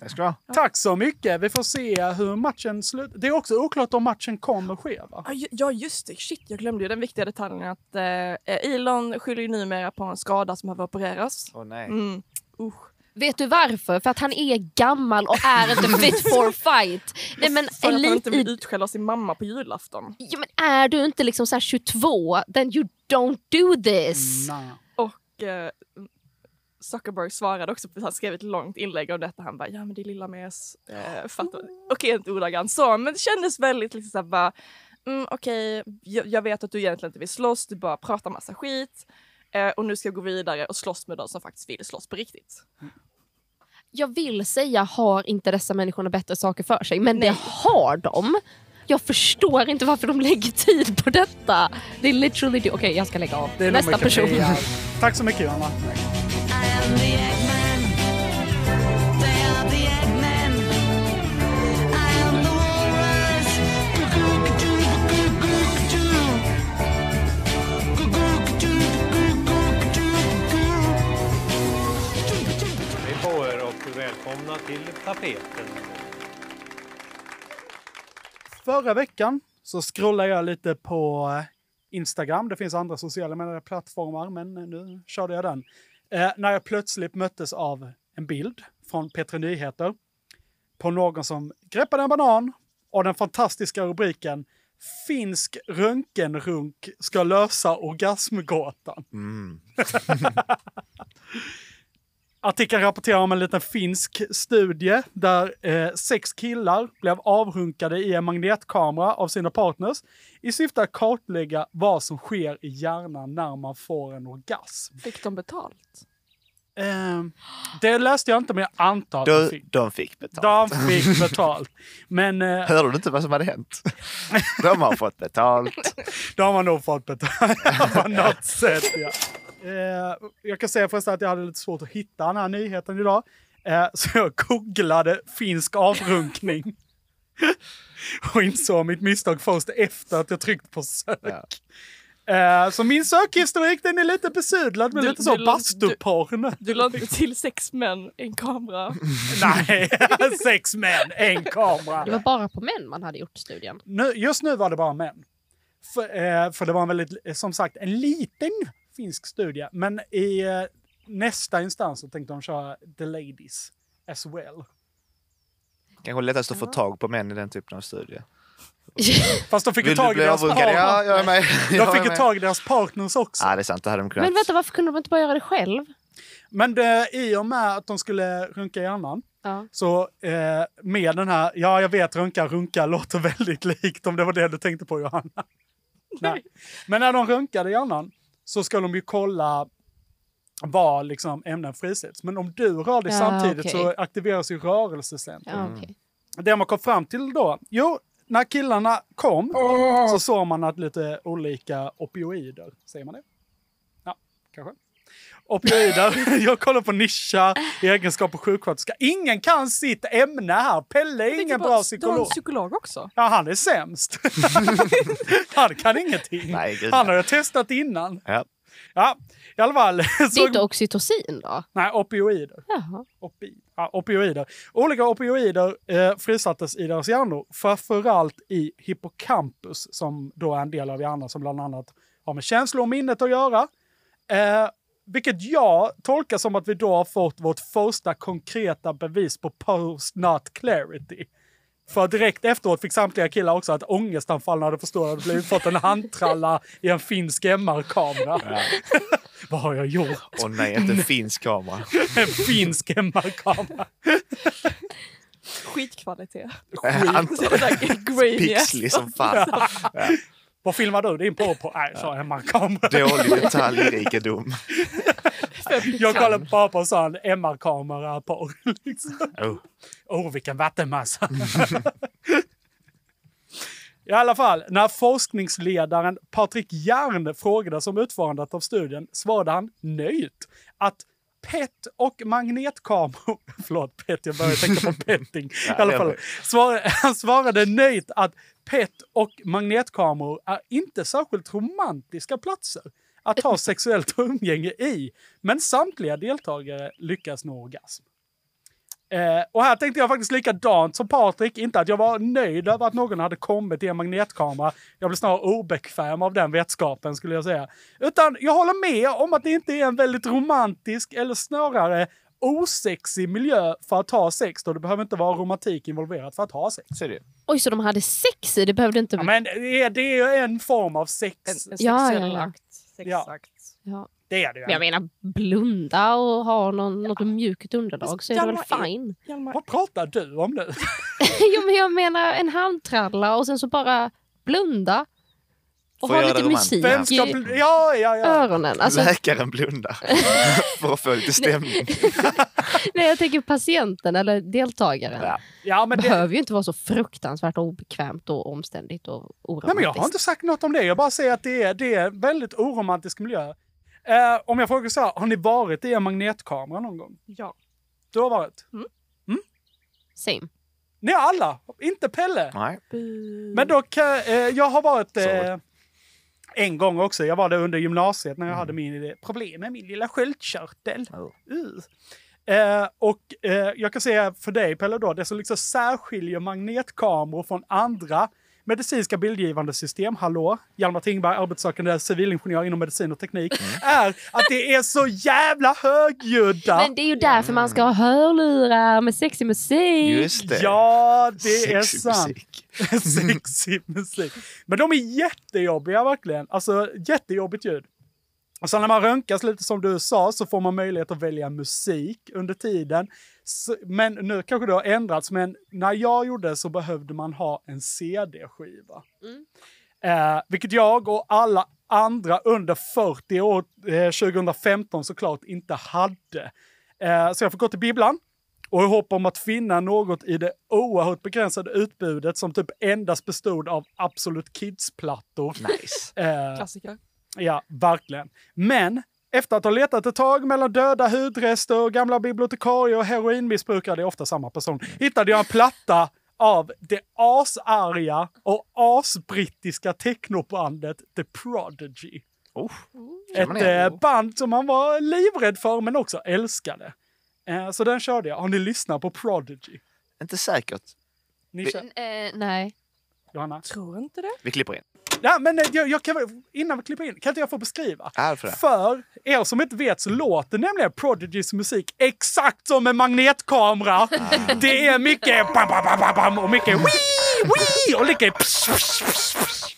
Speaker 3: Tack ska du ha.
Speaker 5: Tack så mycket. Vi får se hur matchen slutar. Det är också oklart om matchen kommer ske, va?
Speaker 6: Ja, ju- Ja, just det. Shit, jag glömde ju den viktiga detaljen att eh, Elon skyller ju numera på en skada som behöver opereras.
Speaker 3: Åh nej.
Speaker 6: Mm. Usch.
Speaker 4: Vet du varför? För att han är gammal och är inte fit for fight. Nej, men
Speaker 6: För att han
Speaker 4: elit
Speaker 6: inte vill utskälla sin mamma på julafton.
Speaker 4: Ja, men är du inte liksom så här 22, then you don't do this.
Speaker 6: Och eh, Zuckerberg svarade också, han skrev ett långt inlägg om detta. Han bara, ja men det är lilla mes. Eh, fattar. Okej, inte ordagrant så, men det kändes väldigt liksom såhär bara, mm, okej, jag, jag vet att du egentligen inte vill slåss, du bara pratar massa skit. Eh, och nu ska jag gå vidare och slåss med de som faktiskt vill slåss på riktigt.
Speaker 4: Jag vill säga, har inte dessa människorna bättre saker för sig? Men det har de. Jag förstår inte varför de lägger tid på detta. Det är literally... Okej, jag ska lägga av.
Speaker 5: Det är nog
Speaker 4: Nästa
Speaker 5: mycket
Speaker 4: person.
Speaker 5: PR. Tack så mycket, Johanna.
Speaker 10: Hej på er och välkomna till tapeten.
Speaker 5: Förra veckan så scrollade jag lite på eh, Instagram. Det finns andra sociala medieplattformar, men eh, nu körde jag den. Eh, när jag plötsligt möttes av en bild från Petra Nyheter på någon som greppade en banan och den fantastiska rubriken Finsk röntgenrunk ska lösa orgasmgåtan.
Speaker 3: Mm.
Speaker 5: Artikeln rapporterar om en liten finsk studie där eh, sex killar blev avhunkade i en magnetkamera av sina partners i syfte att kartlägga vad som sker i hjärnan när man får en orgasm.
Speaker 6: Fick de betalt?
Speaker 5: Ehm, det läste jag inte, men jag antar att de
Speaker 3: Du,
Speaker 5: fick,
Speaker 3: de fick betalt.
Speaker 5: de fick betalt. Men eh,
Speaker 3: Hörde du inte vad som hade hänt? De har fått betalt.
Speaker 5: de har nog fått betalt på något sätt. Ja. Eh, jag kan säga förresten att jag hade lite svårt att hitta den här nyheten idag. Eh, så jag googlade finsk avrunkning. och insåg mitt misstag först efter att jag tryckt på sök. Eh, så min sökhistorik den är lite besudlad med
Speaker 6: Du-
Speaker 5: lite så
Speaker 6: du-
Speaker 5: bastuporn.
Speaker 6: Du la inte till sex män, en kamera.
Speaker 5: Nej, sex män, en kamera.
Speaker 4: Det var bara på män man hade gjort studien.
Speaker 5: nu, just nu var det bara män. För, eh, för det var en väldigt, eh, som sagt, en liten finsk studie. Men i eh, nästa instans så tänkte de köra the ladies as well.
Speaker 3: Kanske lättast att få tag på män i den typen av studie.
Speaker 5: Fast de fick ju
Speaker 3: Vill du
Speaker 5: tag i
Speaker 3: bli
Speaker 5: deras
Speaker 3: avrunkad? Ja, jag är
Speaker 5: partners.
Speaker 3: med.
Speaker 5: De
Speaker 3: Jag är
Speaker 5: fick ju
Speaker 3: med.
Speaker 5: tag i deras partners också.
Speaker 3: Ja, det är sant. Det hade de kunnat.
Speaker 4: Men vänta, varför kunde de inte bara göra det själv?
Speaker 5: Men det, i och med att de skulle runka hjärnan
Speaker 4: Ja.
Speaker 5: Så eh, med den här, ja jag vet runka, runka låter väldigt likt om det var det du tänkte på Johanna. Nej. Men när de runkade hjärnan så ska de ju kolla var liksom ämnen frisätts. Men om du rör dig
Speaker 4: Ja,
Speaker 5: samtidigt
Speaker 4: okej.
Speaker 5: så aktiveras ju rörelsecentrum.
Speaker 4: Ja, okej.
Speaker 5: Det man kom fram till då, jo, när killarna kom så såg man att lite olika opioider, säger man det? Ja, kanske. Opioider, jag kollar på nischa i egenskap av sjuksköterska. Ingen kan sitt ämne här, Pelle är
Speaker 4: typ
Speaker 5: ingen bra
Speaker 6: Du har
Speaker 5: psykolog.
Speaker 6: en psykolog också.
Speaker 5: Ja, han är sämst. han kan ingenting.
Speaker 3: Nej, gud.
Speaker 5: Han har jag testat innan.
Speaker 3: Ja.
Speaker 5: Ja, i alla fall.
Speaker 4: Det är
Speaker 5: Såg...
Speaker 4: inte oxytocin då?
Speaker 5: Nej, opioider.
Speaker 4: Jaha.
Speaker 5: Opi... Ja, opioider. Olika opioider eh, frisattes i deras hjärnor, framförallt i hippocampus som då är en del av hjärnan som bland annat har med känslor och minnet att göra. Eh, vilket jag tolkar som att vi då har fått vårt första konkreta bevis på post-not clarity. För direkt efteråt fick samtliga killar också ett ångestanfall när de förstod att de blivit fått en handtralla i en finsk MR-kamera. Vad har jag gjort?
Speaker 3: Åh nej, inte en finsk kamera.
Speaker 5: En finsk MR-kamera.
Speaker 6: Skitkvalitet.
Speaker 3: Eh, Han-
Speaker 6: Så det där grainy as
Speaker 3: Pixlig som fan.
Speaker 5: Vad filmar du din på på? Nej, sa jag MR-kamera.
Speaker 3: Dålig detaljrikedom.
Speaker 5: jag kollar bara på sån MR-kamera på. Liksom.
Speaker 3: Oh.
Speaker 5: Oh, vilken vattenmassa. I alla fall, när forskningsledaren Patrik Järn frågades om utförandet av studien svarade han nöjt att PET och magnetkameror... Förlåt, PET, jag börjar tänka på petting. I alla fall, svar, han svarade nöjt att PET och magnetkameror är inte särskilt romantiska platser att ha sexuellt umgänge i. Men samtliga deltagare lyckas nå orgasm. Eh, och här tänkte jag faktiskt likadant som Patrik. Inte att jag var nöjd över att någon hade kommit i en magnetkamera. Jag blev snarare obekväm av den vetskapen skulle jag säga. Utan jag håller med om att det inte är en väldigt romantisk eller snarare osexig miljö för att ha sex. Då det behöver inte vara romantik involverat för att ha sex.
Speaker 3: Så är det.
Speaker 4: Oj, så de hade sex i? Det behövde inte...
Speaker 5: Ja, men det är, det är ju en form av sex.
Speaker 6: En, en sexuell
Speaker 4: Ja, ja, ja.
Speaker 6: akt. Sexakt.
Speaker 4: Ja.
Speaker 5: Det är det ju.
Speaker 4: Men Jag menar, blunda och ha någon, något mjukt
Speaker 5: Alltså,
Speaker 4: underlag så är det väl
Speaker 6: Stanna i-
Speaker 4: fine.
Speaker 6: Hjalmar,
Speaker 5: Vad pratar du om nu?
Speaker 4: jo, men jag menar en handtralla och sen så bara blunda. Och
Speaker 3: Får
Speaker 4: ha
Speaker 3: jag
Speaker 4: lite
Speaker 3: göra
Speaker 4: musik
Speaker 3: romantiskt?
Speaker 5: Vem ska...
Speaker 4: i
Speaker 5: bli- Ja, ja, ja.
Speaker 4: öronen. Alltså,
Speaker 3: Läkaren blundar för att få lite stämning.
Speaker 4: nej, jag tänker patienten eller deltagaren.
Speaker 3: Ja.
Speaker 5: ja men
Speaker 4: Det
Speaker 5: det,
Speaker 4: behöver ju inte vara så fruktansvärt obekvämt och omständigt och oromantiskt.
Speaker 5: Nej, men jag har inte sagt något om det. Jag bara säger att det är, det är en väldigt oromantisk miljö. Eh, om jag frågar så här, har ni varit i en magnetkamera någon gång?
Speaker 6: Ja.
Speaker 5: Du har varit?
Speaker 4: Same.
Speaker 5: Ni alla, inte Pelle.
Speaker 3: Nej.
Speaker 5: Men då kan, eh, jag har varit eh,
Speaker 3: Sorry. Mm.
Speaker 5: en gång också. Jag var där under gymnasiet när jag hade min eh, problem med min lilla sköldkörtel.
Speaker 3: Oh.
Speaker 5: Uh. Eh, och eh, jag kan säga för dig Pelle då, det som liksom särskiljer magnetkameror från andra medicinska bildgivande system, hallå, Hjalmar Tingberg, arbetssökande civilingenjör inom medicin och teknik,
Speaker 3: Mm.
Speaker 5: är att det är så jävla högljudda.
Speaker 4: Men det är ju därför man ska ha hörlurar med sexig musik.
Speaker 3: Just det.
Speaker 5: Ja, det är
Speaker 3: Sexy
Speaker 5: sant.
Speaker 3: musik.
Speaker 5: sexig musik. Men de är jättejobbiga verkligen. Alltså jättejobbigt ljud. Och sen när man röntgas lite som du sa så får man möjlighet att välja musik under tiden. Så, men nu kanske det har ändrats, men när jag gjorde så behövde man ha en CD-skiva. Eh, vilket jag och alla andra under 40 år eh, 2015 såklart inte hade. Eh, så jag får gå till bibblan och i hopp om att finna något i det oerhört begränsade utbudet som typ endast bestod av Absolut Kids-plattor.
Speaker 3: Nice.
Speaker 5: Eh,
Speaker 6: Klassiker.
Speaker 5: Ja, verkligen. Men efter att ha letat ett tag mellan döda hudrester och gamla bibliotekarier och heroinmissbrukare, det är ofta samma person, hittade jag en platta av det asarga och asbrittiska technobandet The Prodigy.
Speaker 3: Oh. Känner man
Speaker 5: Ett
Speaker 3: igen?
Speaker 5: eh, band som man var livrädd för men också älskade. Eh, så den körde jag. Har ni lyssnat på Prodigy?
Speaker 3: Inte säkert.
Speaker 5: Ni
Speaker 3: Vi-
Speaker 5: kör,
Speaker 4: Eh, nej.
Speaker 5: Johanna?
Speaker 6: Tror inte det.
Speaker 3: Vi klipper in.
Speaker 5: Ja, men eh, jag, jag kan, innan vi klipper in, kan inte jag få beskriva?
Speaker 3: Är för det.
Speaker 5: För er som inte vet så låter nämligen Prodigys musik exakt som en
Speaker 3: Ah.
Speaker 5: magnetkamera. Det är mycket bam, bam, bam, bam, bam och mycket wii, wii och mycket psh, psh, psh, psh.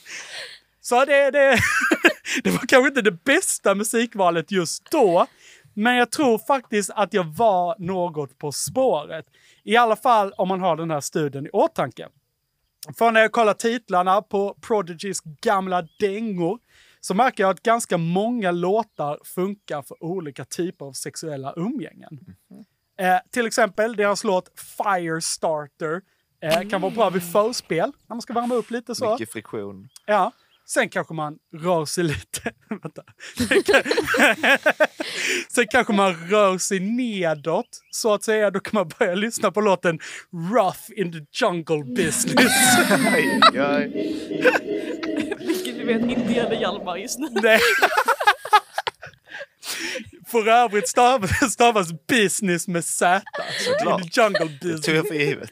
Speaker 5: Så det, det, det var kanske inte det bästa musikvalet just då. Men jag tror faktiskt att jag var något på spåret. I alla fall om man har den här studien i åtanke. För när jag kollar titlarna på Prodigys gamla dängor så märker jag att ganska många låtar funkar för olika typer av sexuella umgängen. Eh, till exempel deras låt Firestarter eh, kan vara bra vid förspel, när man ska värma upp lite så.
Speaker 3: Mycket friktion.
Speaker 5: Ja. Sen kanske man rör sig lite. Vänta. Sen kanske man rör sig nedåt, så att säga. Då kan man börja lyssna på låten Rough in the jungle business.
Speaker 3: Aj, aj.
Speaker 6: Vilket vi vet inte gäller Hjalmar just nu.
Speaker 5: Nej. För övrigt stavas, stavas business med Z.
Speaker 3: Såklart.
Speaker 5: In the jungle
Speaker 3: Det tog jag
Speaker 5: business.
Speaker 3: för givet.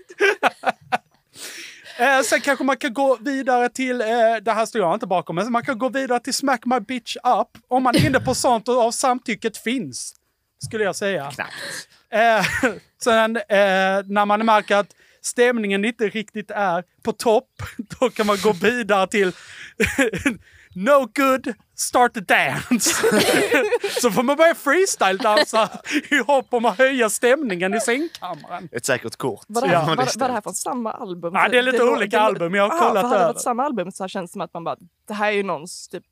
Speaker 5: Eh, sen kanske man kan gå vidare till, eh, det här står jag inte bakom, men man kan gå vidare till Smack My Bitch Up om man är inne på sånt och, och samtycket finns. Skulle jag säga.
Speaker 3: Knappt.
Speaker 5: Eh, sen eh, när man märker att stämningen inte riktigt är på topp, då kan man gå vidare till No good, start the dance. så får man börja freestyle-dansa i hopp om att höja stämningen i sängkammaren.
Speaker 3: Ett säkert kort.
Speaker 6: Var det, här, var, var det här från samma album?
Speaker 5: Ja, det är lite
Speaker 6: lå-
Speaker 5: olika
Speaker 6: det lå-
Speaker 5: album, jag har
Speaker 6: Ah,
Speaker 5: kollat
Speaker 6: för Hade det
Speaker 5: över.
Speaker 6: varit samma album så här känns det som att man bara, det här är ju någons typ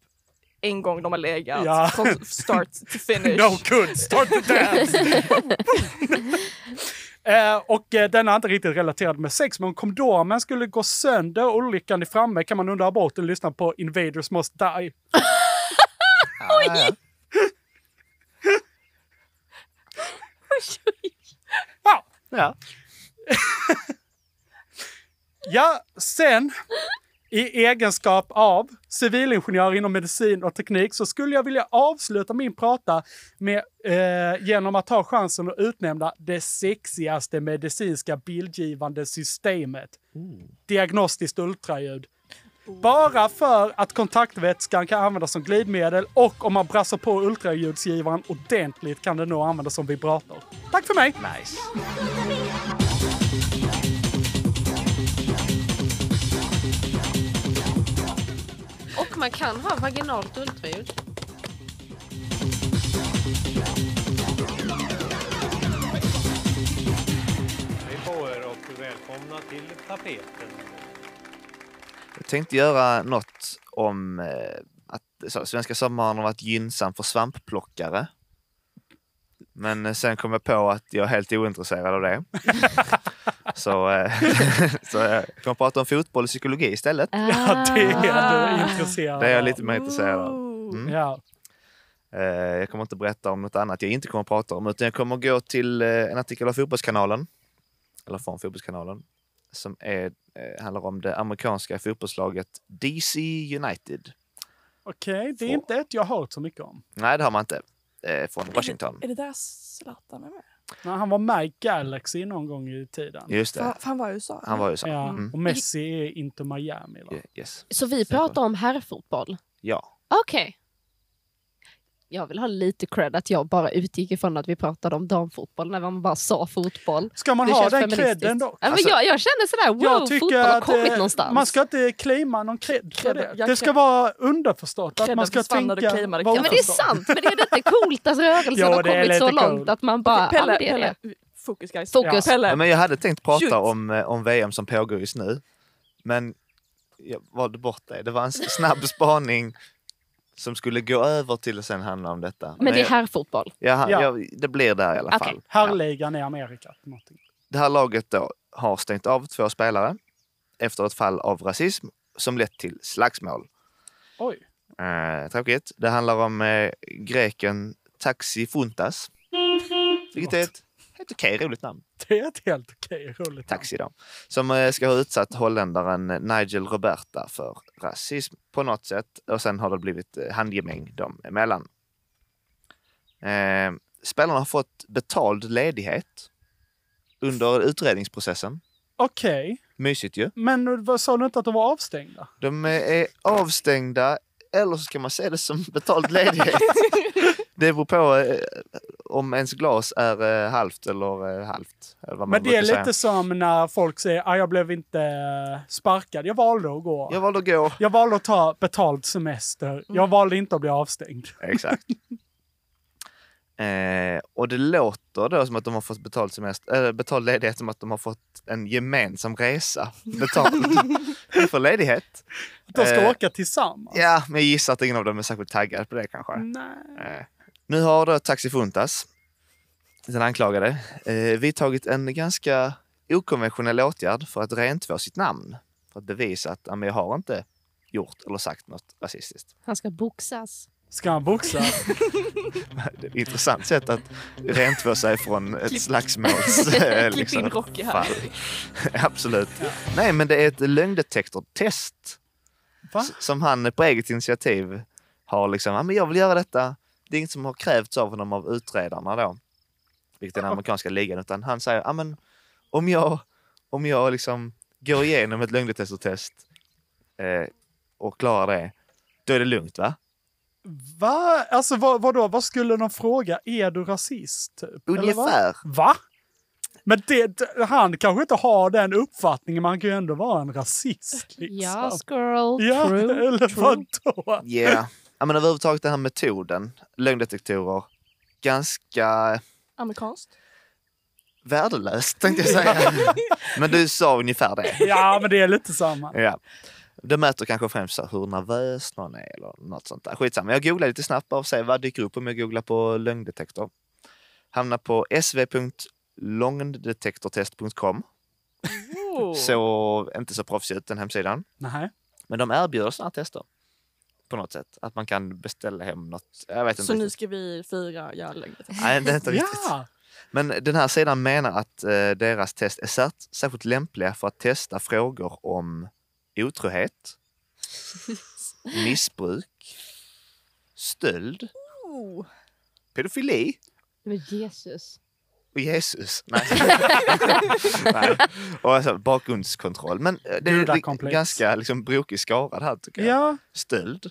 Speaker 6: en gång de har legat,
Speaker 5: Ja.
Speaker 6: från start to finish.
Speaker 5: No good, start the dance. Eh, och eh, den är inte riktigt relaterad med sex, men om kondomen skulle gå sönder och olyckan är framme kan man under aborten lyssna på Invaders Must Die.
Speaker 3: Oj!
Speaker 5: Ja,
Speaker 3: Ja.
Speaker 5: ja sen i egenskap av civilingenjör inom medicin och teknik så skulle jag vilja avsluta min prata med, eh, genom att ta chansen att utnämna det sexigaste medicinska bildgivande systemet.
Speaker 3: Mm.
Speaker 5: Diagnostiskt ultraljud. Bara för att kontaktvätskan kan användas som glidmedel och om man brassar på ultraljudsgivaren ordentligt kan den nog användas som vibrator. Tack för mig!
Speaker 3: Nice.
Speaker 12: Och man kan ha vaginalt ultraljud.
Speaker 10: Hej på er och välkomna till tapeten.
Speaker 3: Jag tänkte göra något om eh, att så, svenska sommaren har varit gynnsam för svampplockare. Men eh, sen kom jag på att jag är helt ointresserad av det. så, eh, så jag kommer prata om fotboll och psykologi istället.
Speaker 4: Ah.
Speaker 5: Ja, det är du intresserad
Speaker 3: Det är jag
Speaker 5: av.
Speaker 3: lite mer intresserad av. Mm.
Speaker 5: Ja.
Speaker 3: Eh, Jag kommer inte berätta om något annat jag inte kommer prata om utan jag kommer gå till eh, en artikel av Fotbollskanalen. Eller från Fotbollskanalen. Som är, eh, handlar om det amerikanska fotbollslaget DC United.
Speaker 5: Okej, det är inte ett jag hört så mycket om.
Speaker 3: Nej, det har man inte. Eh, Från Washington.
Speaker 6: Är det där Zlatan är med?
Speaker 5: Nej, han var med i Galaxy någon gång i tiden.
Speaker 3: Just det.
Speaker 6: För, för han var i USA.
Speaker 3: Han var i USA.
Speaker 5: Ja,
Speaker 3: Mm.
Speaker 5: och Messi är inte Miami. Va?
Speaker 3: Yes.
Speaker 4: Så vi pratar om herrfotboll?
Speaker 3: Ja.
Speaker 4: Okej. Jag vill ha lite cred att jag bara utgick ifrån att vi pratade om damfotboll när man bara sa fotboll.
Speaker 5: Ska man
Speaker 4: Det
Speaker 5: ha
Speaker 4: känns
Speaker 5: den
Speaker 4: feministiskt.
Speaker 5: credden då?
Speaker 4: Ja, men
Speaker 5: Alltså-
Speaker 4: jag, jag känner sådär, wow, fotboll har kommit
Speaker 5: eh,
Speaker 4: någonstans.
Speaker 5: man ska inte claima någon cred för
Speaker 4: Cred-
Speaker 5: det.
Speaker 4: jag
Speaker 5: Det ska
Speaker 4: cred-
Speaker 5: vara underförstått. Att
Speaker 4: Credden
Speaker 5: man ska
Speaker 4: försvann när
Speaker 5: tänka...
Speaker 4: du claimade
Speaker 5: vara
Speaker 4: cred. Ja, men det är
Speaker 5: underförstått.
Speaker 4: sant, men det är lite coolt att rörelsen
Speaker 5: Ja,
Speaker 4: har
Speaker 5: det är
Speaker 4: kommit så
Speaker 5: lite
Speaker 4: långt
Speaker 5: coolt.
Speaker 4: att man bara,
Speaker 6: Okej,
Speaker 4: ja,
Speaker 6: Pelle,
Speaker 4: men det är det.
Speaker 6: Pelle, fokus guys.
Speaker 4: Fokus.
Speaker 6: Ja. Pelle.
Speaker 3: Ja, Men jag hade tänkt
Speaker 6: Shoot.
Speaker 3: prata om, eh, om VM som pågår just nu. Men jag valde bort det. Det var en s- snabb spaning som skulle gå över till att sen handla om detta.
Speaker 4: Men det är
Speaker 3: jag-
Speaker 4: herrfotboll.
Speaker 3: Ja, han-
Speaker 5: Ja.
Speaker 3: ja, det blir där i alla fall.
Speaker 5: Herrligan i Amerika. någonting.
Speaker 3: Det här laget då har stängt av två spelare efter ett fall av rasism som lett till slagsmål.
Speaker 5: Oj.
Speaker 3: Eh, tråkigt. Det handlar om eh, greken Taxi Funtas. Vilket är ett helt okej roligt namn.
Speaker 5: Det är ett helt okej roligt.
Speaker 3: Taxi då. Som eh, ska ha utsatt holländaren Nigel Roberta för rasism på något sätt. Och sen har det blivit eh, handgemäng dem emellan. Eh, spelarna har fått betald ledighet under utredningsprocessen.
Speaker 5: Okej,
Speaker 3: Mysigt ju.
Speaker 5: men vad, sa du inte att de var avstängda?
Speaker 3: De är avstängda, eller så kan man se det som betald ledighet. det beror på eh, om ens glas är eh, halvt eller eh, halvt. Eller vad man
Speaker 5: Men det är
Speaker 3: brukar
Speaker 5: lite som när folk säger att jag blev inte sparkad. Jag valde att gå.
Speaker 3: Jag valde att gå.
Speaker 5: Jag valde att ta betald semester.
Speaker 3: Mm.
Speaker 5: Jag valde inte att bli avstängd.
Speaker 3: Exakt. Eh, och det låter då som att de har fått betald, semester, äh, betald ledighet som att de har fått en gemensam resa betald för ledighet.
Speaker 5: De ska
Speaker 3: Eh,
Speaker 5: åka tillsammans.
Speaker 3: Ja, men jag gissar att ingen av dem är särskilt taggad på det kanske.
Speaker 5: Nej.
Speaker 3: Eh, nu har då Taxi Funtas, den anklagade, eh, vidtagit en ganska okonventionell åtgärd för att rentvå sitt namn. För att bevisa att ja, men jag har inte gjort eller sagt något rasistiskt.
Speaker 4: Han ska boxas.
Speaker 5: Ska han boxa?
Speaker 3: Det är ett intressant sätt att rentvå sig från ett
Speaker 4: Klipp-
Speaker 3: slagsmåls... eh,
Speaker 6: Klipp in Rocky här.
Speaker 3: fall. Absolut. Nej, men det är ett lögndetektortest.
Speaker 5: Va?
Speaker 3: S- Som han på eget initiativ har liksom, ja men jag vill göra detta. Det är inget som har krävts av honom av utredarna då. Vilket är den amerikanska ligan. Utan han säger, ja men om jag, om jag liksom går igenom ett lögndetektortest eh, och klarar det, då är det lugnt va?
Speaker 5: Va? Alltså vad, vadå? Vad skulle de fråga? Är du rasist? Typ? Eller vad?
Speaker 3: Ungefär.
Speaker 5: Va? Men det, han kanske inte har den uppfattningen, men han kan ju ändå vara en rasist. Liksom.
Speaker 4: Yes girl,
Speaker 5: Ja,
Speaker 4: true,
Speaker 5: eller
Speaker 4: true.
Speaker 5: vadå?
Speaker 3: Ja, Ja, men överhuvudtaget den här metoden, lögndetektorer, ganska
Speaker 6: Amerikanskt.
Speaker 3: värdelöst tänkte jag säga. men du sa ungefär det.
Speaker 5: Ja, men det är lite samma.
Speaker 3: Ja. Det mäter kanske främst så här hur nervös någon är eller något sånt där. Skitsamma, jag googlar lite snabbt bara och ser vad dyker upp om jag googlar på lögndetektor. Hamnar på sv.lögndetektortest.com. Så inte så proffsig ut den hemsidan.
Speaker 5: Nej.
Speaker 3: Men de erbjuder sådana tester. På något sätt. Att man kan beställa hem något. Jag vet inte
Speaker 6: Så nu
Speaker 3: riktigt.
Speaker 6: ska vi fira järnlängdet.
Speaker 3: Nej, det är inte riktigt. Men den här sidan menar att eh, deras test är särt- särskilt lämpliga för att testa frågor om otrohet, missbruk, stöld, pedofili
Speaker 4: Men Jesus.
Speaker 3: och Jesus. Nej. Nej. Och alltså, bakgrundskontroll. Men eh, det är
Speaker 5: Gudakomplex.
Speaker 3: ganska liksom, brokig skara det här tycker jag.
Speaker 5: Ja.
Speaker 3: Stöld.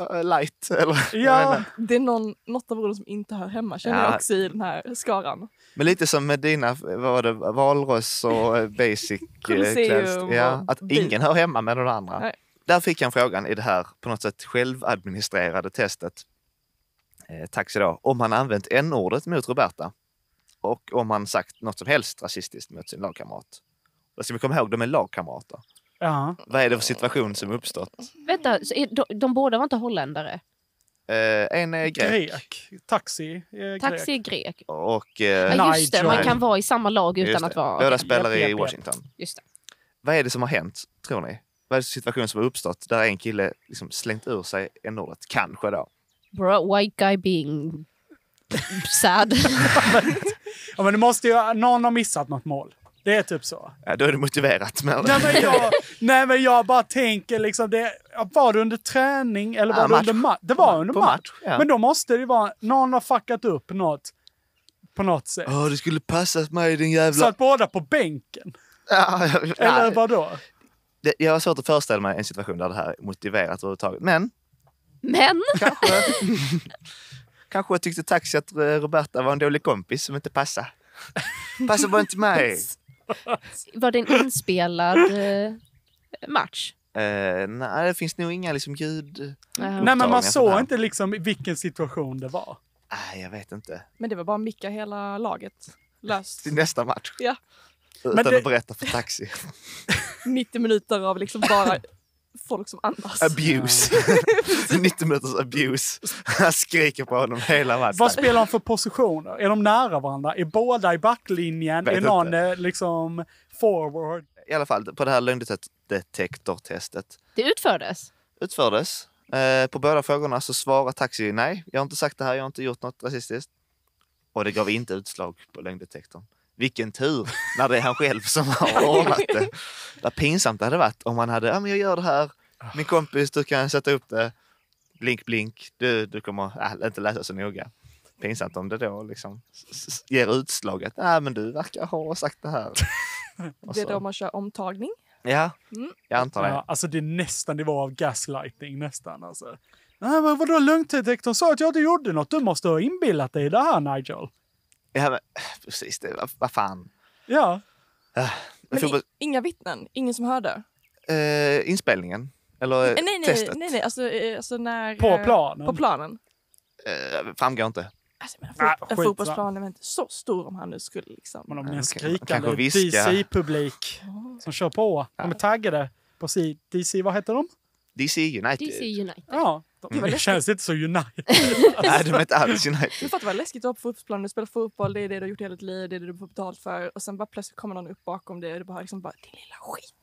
Speaker 3: Ja, light, eller? jag vet
Speaker 6: Ja,
Speaker 3: inte.
Speaker 6: det är någon, något av orden som inte hör hemma känner
Speaker 3: Ja.
Speaker 6: jag också i den här skaran.
Speaker 3: Men lite som med dina vad var det, valross och eh, basic eh,
Speaker 6: Colosseum
Speaker 3: cleanse. ja,
Speaker 6: och
Speaker 3: Att
Speaker 6: bil.
Speaker 3: ingen hör hemma med någon andra.
Speaker 6: Nej.
Speaker 3: Där fick jag en frågan i det här på något sätt självadministrerade testet. Eh, tack så då. Om han använt n-ordet mot Roberta. Och om han sagt något som helst rasistiskt mot sin lagkamrat. Då ska vi komma ihåg, de är lagkamrater.
Speaker 5: Ja.
Speaker 3: Vad är det för situation som uppstått?
Speaker 4: Vänta, så är, de, de båda var inte holländare?
Speaker 3: Eh, en är grek.
Speaker 5: Grek. Taxi. Eh, grek.
Speaker 4: Taxi är grek.
Speaker 3: Och,
Speaker 4: Ja, just det, man
Speaker 3: Nigel.
Speaker 4: kan vara i samma lag
Speaker 3: Just
Speaker 4: utan
Speaker 3: det.
Speaker 4: att vara...
Speaker 3: Båda
Speaker 4: Okej.
Speaker 3: spelar
Speaker 4: Japp, japp,
Speaker 3: i
Speaker 4: japp.
Speaker 3: Washington.
Speaker 4: Just det.
Speaker 3: Vad är det som har hänt, tror ni? Vad är det för situation som har uppstått där en kille liksom slängt ur sig n-ordet? Kanske då.
Speaker 4: Bro, white guy being sad.
Speaker 5: Ja, men det måste ju, någon har missat något mål. Det är typ så.
Speaker 3: Ja, då är det motiverat. Men...
Speaker 5: Nej men, jag, nej men jag bara tänker liksom, det, var det under träning eller var
Speaker 3: Ja,
Speaker 5: det
Speaker 3: match.
Speaker 5: under match? Det var under
Speaker 3: på
Speaker 5: match.
Speaker 3: match, ja.
Speaker 5: Men då måste det ju vara, någon har fuckat upp något på något sätt.
Speaker 3: Åh, det skulle passat mig din jävla...
Speaker 5: Satt båda på bänken?
Speaker 3: Ja, ja,
Speaker 5: Eller
Speaker 3: ja.
Speaker 5: vadå?
Speaker 3: Det, jag har svårt att föreställa mig en situation där det här är motiverat överhuvudtaget. Men
Speaker 4: Men
Speaker 3: kanske... kanske jag tyckte Taxi att eh, Roberta var en dålig kompis som inte passade. Passar bara inte mig.
Speaker 4: var det en inspelad eh, match?
Speaker 3: Eh, nej, det finns nog inga liksom, ljud...
Speaker 5: Nej men
Speaker 3: upptagningar
Speaker 5: man
Speaker 3: från
Speaker 5: såg
Speaker 3: här.
Speaker 5: inte liksom i vilken situation det var.
Speaker 3: Nej, jag vet inte.
Speaker 6: Men det var bara att micka hela laget löst.
Speaker 3: Till nästa match.
Speaker 6: Ja,
Speaker 3: Utan
Speaker 5: Men det-
Speaker 3: att berätta för Taxi.
Speaker 6: 90 minuter av liksom bara folk som andas.
Speaker 3: Äh, Abuse. 90 minuters abuse. Han skriker på honom hela matchen.
Speaker 5: Vad spelar de för positioner? Är de nära varandra? Är båda i backlinjen?
Speaker 3: Vet
Speaker 5: är någon
Speaker 3: inte.
Speaker 5: eh, liksom forward?
Speaker 3: I alla fall, på det här lögndetektortestet
Speaker 4: Det utfördes.
Speaker 3: utfördes. Eh, på båda frågorna så svarar Taxi nej. Jag har inte sagt det här, jag har inte gjort något rasistiskt. Och det gav inte utslag på lögndetektorn. Vilken tur när det är han själv som har ordnat det. Vad pinsamt det hade varit om han hade, ja men jag gör det här. Min kompis, du kan sätta upp det. Blink, blink. Du, du kommer äh, inte läsa så noga. Pinsamt om det då liksom s- s- ger utslaget. Ja men du verkar ha sagt det här. Och
Speaker 6: Det är då
Speaker 3: så.
Speaker 6: man kör omtagning.
Speaker 3: Ja,
Speaker 6: Mm.
Speaker 3: jag antar det.
Speaker 5: Ja, alltså det är nästan nivå av gaslighting nästan alltså. Nej men vadå lögndetektorn sa att jag inte gjorde något. Du måste ha inbillat dig i det här Nigel.
Speaker 3: Ja, men, precis, det, vad, vad fan.
Speaker 5: Ja.
Speaker 6: Men
Speaker 3: Fotboll,
Speaker 6: i, inga vittnen, ingen som hörde.
Speaker 3: eh, inspelningen? Eller
Speaker 6: Eh, nej, nej,
Speaker 3: testet?
Speaker 6: nej, nej. Alltså, eh, alltså när...
Speaker 5: På
Speaker 6: eh,
Speaker 5: planen.
Speaker 6: På planen.
Speaker 3: Eh, framgår inte.
Speaker 6: Alltså, men,
Speaker 5: Ah,
Speaker 6: en
Speaker 5: skitsamma.
Speaker 6: fotbollsplan är väl inte så stor om han nu skulle liksom...
Speaker 5: Men om det är en
Speaker 3: Okej, man
Speaker 5: skrikande
Speaker 3: kanske viskar.
Speaker 5: DC-publik som kör på. De är taggade på si- DC, vad heter de?
Speaker 3: DC United.
Speaker 4: DC United.
Speaker 5: Ja, de,
Speaker 6: Gud, vad
Speaker 5: det känns inte så United.
Speaker 3: Nej, de är inte alls United.
Speaker 6: Du fattar vad läskigt att vara på fotbollsplanen, du spelar fotboll, det är det du har gjort hela ditt liv, det är det du får betalt för och sen bara plötsligt kommer någon upp bakom dig och du bara liksom bara din lilla skit.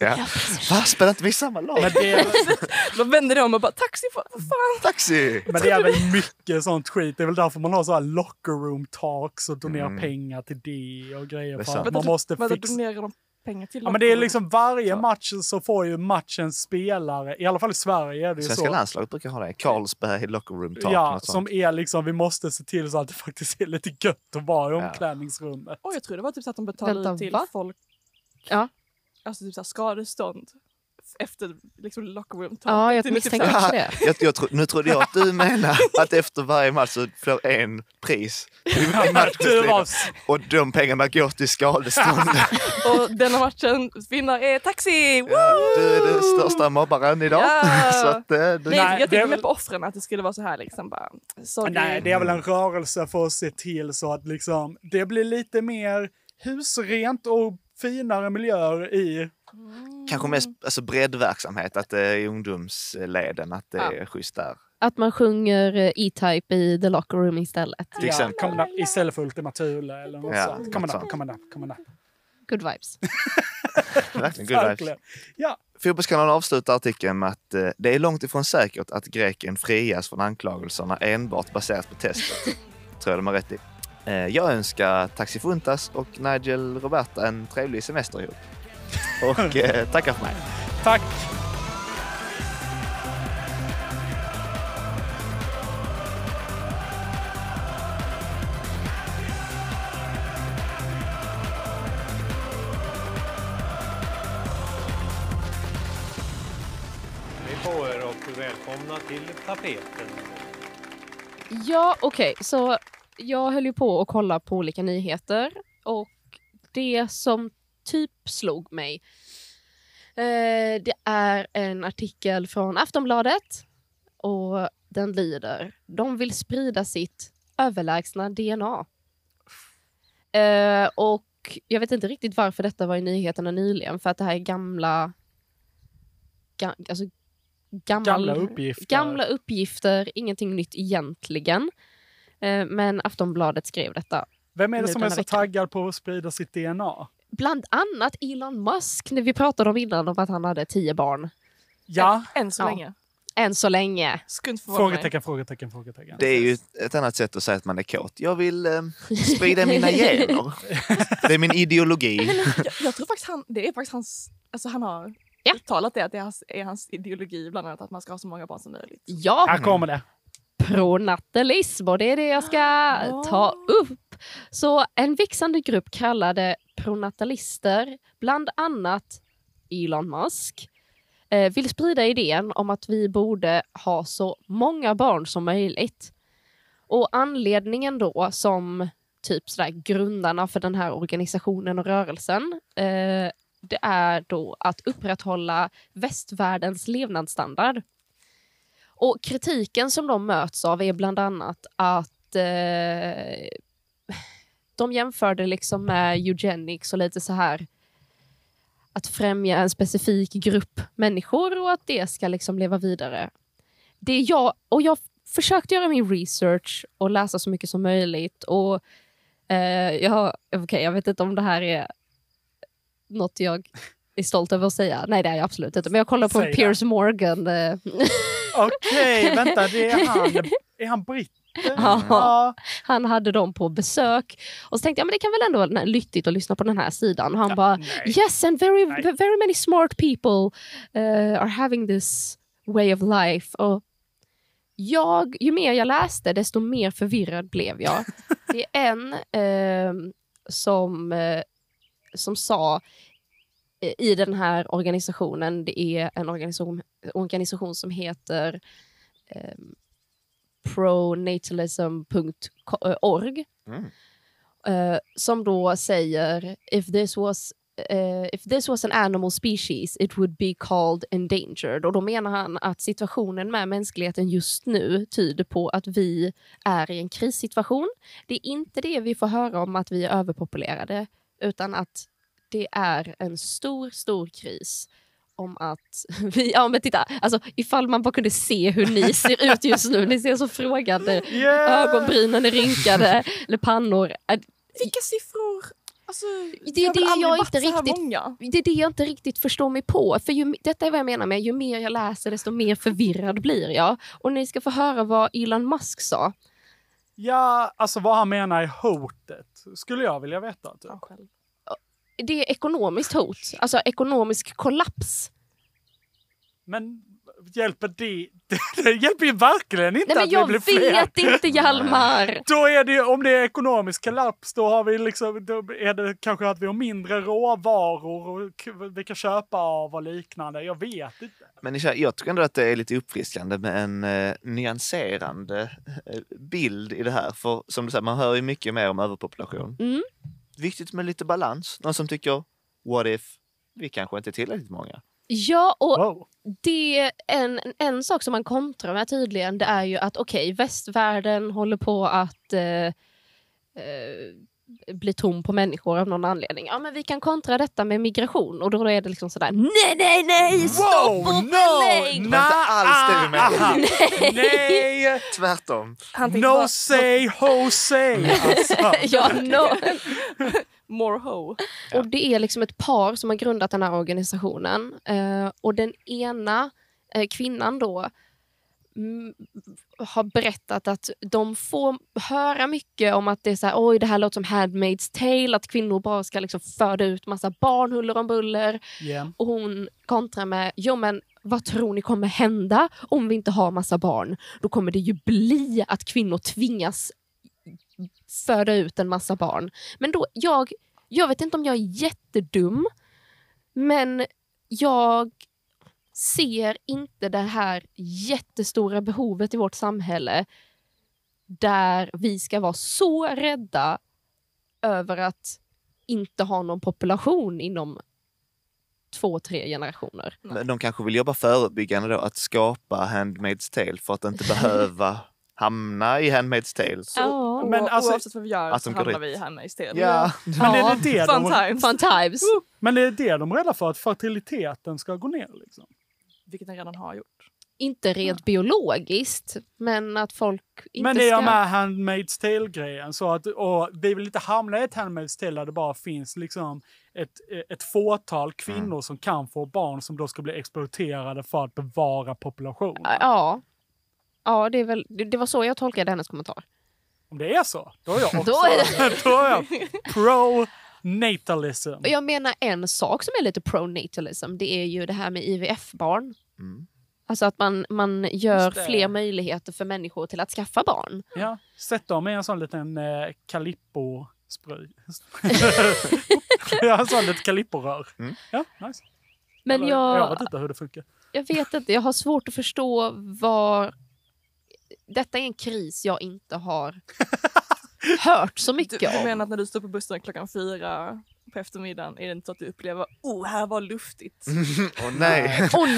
Speaker 3: ja. Va, spelar inte vi i samma lag?
Speaker 5: Men det, är,
Speaker 6: Då vänder de om och bara taxi, vad fan?
Speaker 3: Taxi!
Speaker 5: men det är väl mycket sånt skit. Det är väl därför man har så här locker room talks och donerar pengar till det och
Speaker 3: Mm. Det
Speaker 5: grejer.
Speaker 3: är
Speaker 5: För
Speaker 3: sant.
Speaker 5: att man måste
Speaker 6: Vänta,
Speaker 5: fixa
Speaker 6: donerar de pengar till
Speaker 5: Ja, men det är liksom varje match så får ju matchens spelare, i alla fall i Sverige, är det ju
Speaker 3: Svenska
Speaker 5: så.
Speaker 3: landslaget brukar ha det. Carlsberg locker room talk.
Speaker 5: Ja,
Speaker 3: något sånt.
Speaker 5: som är liksom, vi måste se till så att det faktiskt är lite gött att vara i
Speaker 3: Ja.
Speaker 5: omklädningsrummet.
Speaker 6: Oj, jag tror det var typ så att de betalade
Speaker 4: Vänta,
Speaker 6: ut till
Speaker 4: va?
Speaker 6: folk,
Speaker 4: Ja.
Speaker 6: alltså typ så här skadestånd efter liksom, Typ locker
Speaker 4: Ja, jag misstänker också det.
Speaker 3: Jag, jag tro, nu trodde jag att du menar att efter varje match så får en pris. i matchutdelningen. Och de pengarna går till skadestånd.
Speaker 6: Och denna matchens vinnare är Taxi! Woo!
Speaker 3: Du är den största mobbaren idag.
Speaker 6: Ja.
Speaker 3: Så att, eh,
Speaker 6: Nej, jag
Speaker 3: du,
Speaker 5: det är
Speaker 6: tänkte mer
Speaker 5: väl-
Speaker 6: på offren, att det skulle vara så här liksom bara... Sorry.
Speaker 5: Nej, det är väl en rörelse för att se till så att liksom, det blir lite mer husrent och finare miljöer i...
Speaker 3: Kanske mest alltså, breddverksamhet, att det är i ungdomsleden, att det är schysst där.
Speaker 4: Att man sjunger eh, E-Type i the locker room istället.
Speaker 3: Till exempel.
Speaker 5: Coming up, istället för Ultima Thule eller något
Speaker 3: Ja,
Speaker 5: sånt. Coming
Speaker 3: något
Speaker 5: up,
Speaker 3: sånt.
Speaker 5: coming up, coming up.
Speaker 4: Good vibes.
Speaker 3: Verkligen good vibes.
Speaker 5: Verkligen. Ja,
Speaker 3: Fotbollskanalen avslutar artikeln med att eh, det är långt ifrån säkert att greken frias från anklagelserna enbart baserat på testet. Tror jag de har rätt i. Eh, jag önskar Taxi Funtas och Nigel Roberta en trevlig semester ihop. Och eh, tackar för mig.
Speaker 5: tack.
Speaker 10: Hej på er och välkomna till tapeten.
Speaker 4: Ja, okej. Så jag höll ju på att kolla på olika nyheter och det som typ slog mig eh, det är en artikel från Aftonbladet och den lyder De vill sprida sitt överlägsna DNA. Eh, och jag vet inte riktigt varför detta var i nyheterna nyligen för att det här är gamla ga, alltså, gammal,
Speaker 5: Mm. Gamla uppgifter.
Speaker 4: gamla uppgifter, ingenting nytt egentligen. Eh, men Aftonbladet skrev detta.
Speaker 5: Vem är det
Speaker 4: nu
Speaker 5: som är
Speaker 4: denna
Speaker 5: så
Speaker 4: veckan.
Speaker 5: taggad på att sprida sitt DNA?
Speaker 4: Bland annat Elon Musk, när vi pratade om innan om att han hade tio barn.
Speaker 5: Ja,
Speaker 6: Än så
Speaker 4: Ja.
Speaker 6: länge.
Speaker 4: Än så länge.
Speaker 6: Skumt förvånar mig.
Speaker 5: frågetecken, frågetecken, frågetecken.
Speaker 3: Det är ju ett annat sätt att säga att man är kåt. Jag vill eh, sprida mina gener. Det är min ideologi.
Speaker 6: Jag, jag tror faktiskt han, det är faktiskt hans... Alltså han har
Speaker 4: Ja.
Speaker 6: uttalat det, att det är hans, är hans ideologi bland annat att man ska ha så många barn som möjligt.
Speaker 4: Ja,
Speaker 5: Här kommer det.
Speaker 4: pronatalism och det är det jag ska ta upp. Så en växande grupp kallade pronatalister, bland annat Elon Musk, eh, vill sprida idén om att vi borde ha så många barn som möjligt. Och anledningen då som typ sådär grundarna för den här organisationen och rörelsen eh, det är då att upprätthålla västvärldens levnadsstandard. Och kritiken som de möts av är bland annat att eh, de jämför det liksom med eugenics och lite så här att främja en specifik grupp människor och att det ska liksom leva vidare. Det är jag, och jag försökte göra min research och läsa så mycket som möjligt och eh, jag, okej, jag vet inte om det här är något jag är stolt över att säga. Nej, det är jag absolut inte. Men jag kollar på en
Speaker 5: Säg det.
Speaker 4: Piers Morgan eh,
Speaker 5: Okej, vänta, det är han. Är han britt?
Speaker 4: Ja.
Speaker 5: Ja.
Speaker 4: Han hade dem på besök. Och så tänkte jag men det kan väl ändå vara nyttigt att lyssna på den här sidan. Och han bara
Speaker 5: nej.
Speaker 4: “Yes, and very,
Speaker 5: Nej.
Speaker 4: very many smart people eh, are having this way of life”. Och jag, ju mer jag läste, desto mer förvirrad blev jag. Det är en eh, som, eh, som sa eh, i den här organisationen, det är en organisation, organisation som heter eh, pronatalism.org
Speaker 3: Mm.
Speaker 4: eh, som då säger if this was eh, if this was an animal species it would be called endangered. Och då menar han att situationen med mänskligheten just nu tyder på att vi är i en krissituation. Det är inte det vi får höra om att vi är överpopulerade utan att det är en stor, stor kris om att vi, ja men titta, alltså ifall man bara kunde se hur ni ser ut just nu, ni ser så frågande,
Speaker 5: Yeah!
Speaker 4: ögonbrynen är rynkade, eller pannor. Äh,
Speaker 6: Vilka siffror! Alltså,
Speaker 4: det är
Speaker 6: har väl
Speaker 4: det
Speaker 6: aldrig
Speaker 4: jag
Speaker 6: varit
Speaker 4: inte
Speaker 6: så här
Speaker 4: riktigt-
Speaker 6: Många.
Speaker 4: Det är det jag inte riktigt förstår mig på, för ju, detta är vad jag menar med ju mer jag läser desto mer förvirrad blir jag. Och ni ska få höra vad Elon Musk sa.
Speaker 5: Ja, alltså vad han menar är hotet, skulle jag vilja veta. Typ.
Speaker 4: Det är ekonomiskt hot, alltså ekonomisk kollaps.
Speaker 5: Men hjälper det? Det hjälper ju verkligen inte
Speaker 4: Nej, men
Speaker 5: att
Speaker 4: jag
Speaker 5: vi blir fler.
Speaker 4: vet inte, Hjalmar.
Speaker 5: Då är det ju- om det är ekonomisk kollaps, då har vi liksom, då är det kanske att vi har mindre råvaror och k- vi kan köpa av och liknande. Jag vet inte.
Speaker 3: Men ni känner- jag tycker ändå att det är lite uppfriskande med en eh, nyanserande eh, bild i det här. För som du säger, man hör ju mycket mer om överpopulation.
Speaker 4: Mm.
Speaker 3: Viktigt med lite balans. Någon som tycker, what if, vi kanske inte är tillräckligt många.
Speaker 4: Ja, och det är en, en sak som man kontrar med tydligen det är ju att okej, västvärlden håller på att eh, eh, bli tom på människor av någon anledning. Ja, men vi kan kontra detta med migration och då är det liksom sådär nej, nej, nej, stopp
Speaker 3: Wow,
Speaker 4: och
Speaker 3: no,
Speaker 4: belägg!
Speaker 3: Det var inte alls
Speaker 5: ah,
Speaker 3: det vi menade.
Speaker 4: Nej.
Speaker 5: Nej!
Speaker 3: Tvärtom.
Speaker 5: no say, ho say! Alltså.
Speaker 4: ja, no.
Speaker 6: More ho.
Speaker 4: Och det är liksom ett par som har grundat den här organisationen. Eh, och den ena eh, kvinnan då mm, har berättat att de får höra mycket om att det är så här, oj det här låter som Handmaid's tale, att kvinnor bara ska liksom föda ut massa barn huller om buller.
Speaker 5: Yeah.
Speaker 4: Och hon kontrar med, jo men vad tror ni kommer hända om vi inte har massa barn? Då kommer det ju bli att kvinnor tvingas föda ut en massa barn. Men då, jag, jag vet inte om jag är jättedum, men jag ser inte det här jättestora behovet i vårt samhälle där vi ska vara så rädda över att inte ha någon population inom två, tre generationer.
Speaker 3: Men de kanske vill jobba förebyggande då, att skapa Handmaid's Tale för att inte behöva hamna i Handmaid's Tale.
Speaker 4: Ja.
Speaker 6: O-
Speaker 5: Men alltså-
Speaker 6: oavsett vad vi gör
Speaker 3: Att
Speaker 6: så
Speaker 3: de går
Speaker 6: hamnar vi
Speaker 3: dit.
Speaker 6: i Hanna istället.
Speaker 3: Ja.
Speaker 5: Men är det det
Speaker 6: Fun
Speaker 5: de-
Speaker 6: times.
Speaker 4: Typ. Fun times.
Speaker 5: Men är det det de är rädda för? Att fertiliteten ska gå ner? Liksom?
Speaker 6: Vilket den redan har gjort.
Speaker 4: Inte rent biologiskt, men att folk inte
Speaker 5: Men det är
Speaker 4: ska...
Speaker 5: med Handmaid's Tale-grejen. Så att, och vi vill inte hamna i ett Handmaid's Tale där det bara finns liksom ett, ett fåtal kvinnor som kan få barn som då ska bli exploaterade för att bevara populationen.
Speaker 4: Ja. Ja, det, är väl, det det var så jag tolkade hennes kommentar.
Speaker 5: Om det är så, då är jag också...
Speaker 4: Då är
Speaker 5: då är jag pro-natalism.
Speaker 4: Och jag menar en sak som är lite pronatalism, det är ju det här med IVF-barn. Alltså att man, man gör
Speaker 5: Just det.
Speaker 4: fler möjligheter för människor till att skaffa barn.
Speaker 5: Ja, sätt dem i en sån liten eh, kalippo-spray. ja, en sån litet kalipporör.
Speaker 3: Mm.
Speaker 5: Ja, nice.
Speaker 4: Men
Speaker 5: Eller,
Speaker 4: jag-
Speaker 5: jag vet inte hur det funkar.
Speaker 4: Jag vet inte, jag har svårt att förstå var... Detta är en kris jag inte har hört så
Speaker 6: Du,
Speaker 4: mycket
Speaker 6: du
Speaker 4: om.
Speaker 6: menar att när du står på bussen klockan fyra på eftermiddagen är det inte så att du upplever oh här var luftigt.
Speaker 3: Åh nej.
Speaker 4: Åh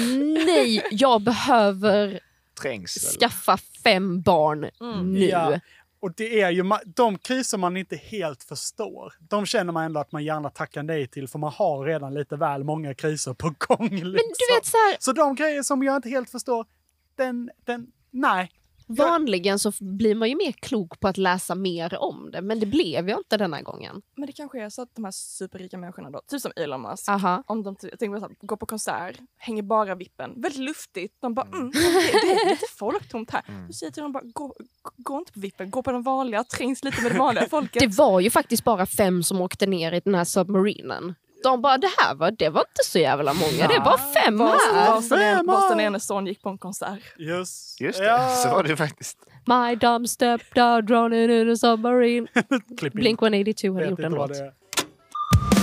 Speaker 4: nej, jag behöver
Speaker 3: Trängsel.
Speaker 4: skaffa fem barn
Speaker 5: Mm.
Speaker 4: nu.
Speaker 5: Ja. Och det är ju ma- de kriser man inte helt förstår. De känner man ändå att man gärna tackar nej till för man har redan lite väl många kriser på gång. Liksom.
Speaker 4: du vet så här-
Speaker 5: så de grejer som jag inte helt förstår, den, den, nej.
Speaker 4: Vanligen så f- blir man ju mer klok på att läsa mer om det, men det blev jag inte denna gången.
Speaker 6: Men det kanske är så att de här superrika människorna då, typ som Elon Musk,
Speaker 4: Aha.
Speaker 6: om de jag tänker på så här, går på konsert, hänger bara vippen, väldigt luftigt. De bara mm, det, det är lite folk tomt här. Då säger jag till dem bara gå, gå inte på vippen, gå på den vanliga, trängs lite med det vanliga folket.
Speaker 4: Det var ju faktiskt bara fem som åkte ner i den här submarinen. De bara, det här var, det var inte så jävla många, det är bara fem här.
Speaker 6: Boston, Boston Eneson gick på en konsert.
Speaker 5: Just,
Speaker 3: Just det, så var det faktiskt.
Speaker 4: My dumb stepdad running in a submarine.
Speaker 5: Klipp in.
Speaker 4: Blink 182 hade
Speaker 5: Vet
Speaker 4: gjort en
Speaker 5: inte vad
Speaker 4: låt.
Speaker 5: det är.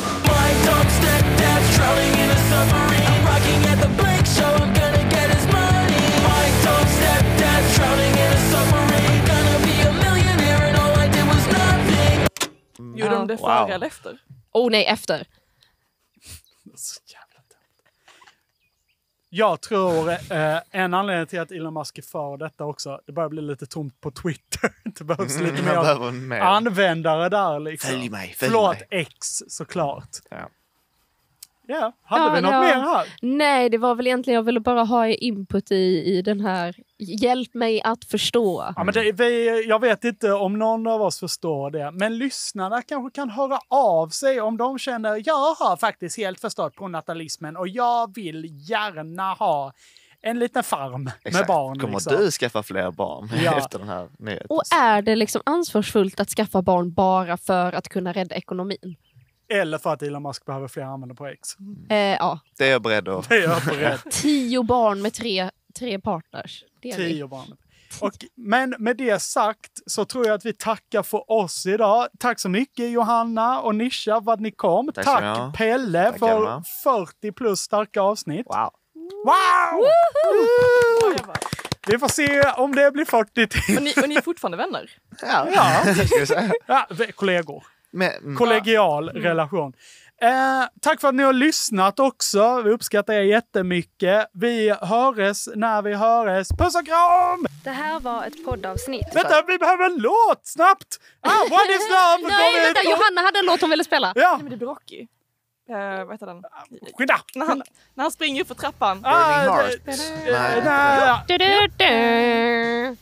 Speaker 6: Gjorde de det
Speaker 3: Wow.
Speaker 6: före eller efter?
Speaker 4: Oh nej, efter.
Speaker 5: Så jävla dumt. Jag tror eh, en anledning till att Elon Musk är för detta också, det börjar bli lite tomt på Twitter. Det behövs
Speaker 3: Mm,
Speaker 5: lite
Speaker 3: jag
Speaker 5: mer
Speaker 3: behöver mer.
Speaker 5: användare där liksom.
Speaker 3: Följ mig, följ
Speaker 5: Förlåt
Speaker 3: mig.
Speaker 5: X såklart.
Speaker 3: Ja.
Speaker 5: Ja, hade vi något
Speaker 4: ja.
Speaker 5: mer här?
Speaker 4: Nej, det var väl egentligen, jag ville bara ha er input i, i den här, hjälp mig att förstå.
Speaker 5: Ja, men det, vi, jag vet inte om någon av oss förstår det, men lyssnarna kanske kan höra av sig om de känner jag har faktiskt helt förstått pronatalismen och jag vill gärna ha en liten farm med
Speaker 3: Exakt.
Speaker 5: barn.
Speaker 3: Kommer
Speaker 5: liksom.
Speaker 3: du skaffa fler barn
Speaker 5: Ja.
Speaker 3: efter den här nyheten?
Speaker 4: Och är det liksom ansvarsfullt att skaffa barn bara för att kunna rädda ekonomin?
Speaker 5: Eller för att Elon Musk behöver fler användare på X.
Speaker 4: Eh, ja.
Speaker 3: Det är jag beredd att...
Speaker 5: Det är jag beredd.
Speaker 4: Tio barn med tre tre partners. Det är vi.
Speaker 5: Tio barn. Och, men med det sagt så tror jag att vi tackar för oss idag. Tack så mycket Johanna och Nisha för att ni kom.
Speaker 3: Tack
Speaker 5: Tack,
Speaker 3: ska ni ha.
Speaker 5: Pelle
Speaker 3: Tack,
Speaker 5: för
Speaker 3: Emma.
Speaker 5: 40 plus starka avsnitt.
Speaker 3: Wow!
Speaker 5: wow! Woo! Vi får se om det blir 40 till.
Speaker 6: Och ni, och ni är fortfarande vänner?
Speaker 3: Ja.
Speaker 5: Ja.
Speaker 3: det ska vi säga.
Speaker 5: Ja, vi- kollegor.
Speaker 3: Men, mm.
Speaker 5: Kollegial
Speaker 3: Mm.
Speaker 5: relation. Eh, tack för att ni har lyssnat också. Vi uppskattar er jättemycket. Vi höres när vi höres. Puss och kram!
Speaker 1: Det här var ett poddavsnitt.
Speaker 5: Vänta, vi behöver en låt snabbt! Ah, what is love? Kom
Speaker 4: Nej, vänta!
Speaker 5: hit.
Speaker 4: Johanna hade en låt hon ville spela.
Speaker 5: Ja.
Speaker 6: Nej, men det blir Rocky. Eh, vad heter den?
Speaker 5: Skynda!
Speaker 6: När han, när han springer upp för trappan.
Speaker 5: Ah,
Speaker 3: Burning Heart. Nej.
Speaker 5: Nej.
Speaker 4: Du-du-du.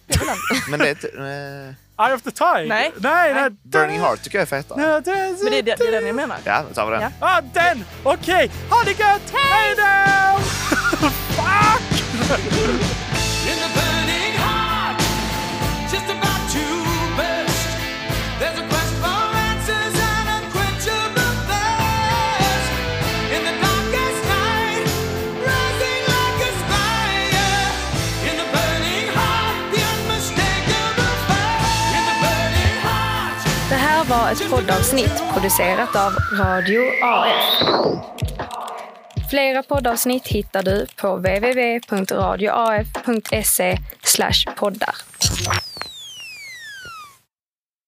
Speaker 3: Men det är... inte- eh,
Speaker 5: Eye of the Tide?
Speaker 6: Nej.
Speaker 5: Nej, nej.
Speaker 3: Burning Heart tycker jag är fetare.
Speaker 5: Men det
Speaker 6: Men det är, det är den jag menar.
Speaker 3: Ja, då tar vi den.
Speaker 6: Ja.
Speaker 5: Ah, den! Okej, ha det gött! Hej då! Fuck!
Speaker 13: In the burning heart, just about to burst. There's a quest for answers and unquenchable thirst. In the darkest night, rising like a spire. In the burning heart, the unmistakable fire. In the burning heart.
Speaker 1: Det här var ett poddavsnitt producerat av Radio AF. Flera poddavsnitt hittar du på www.radioaf.se poddar.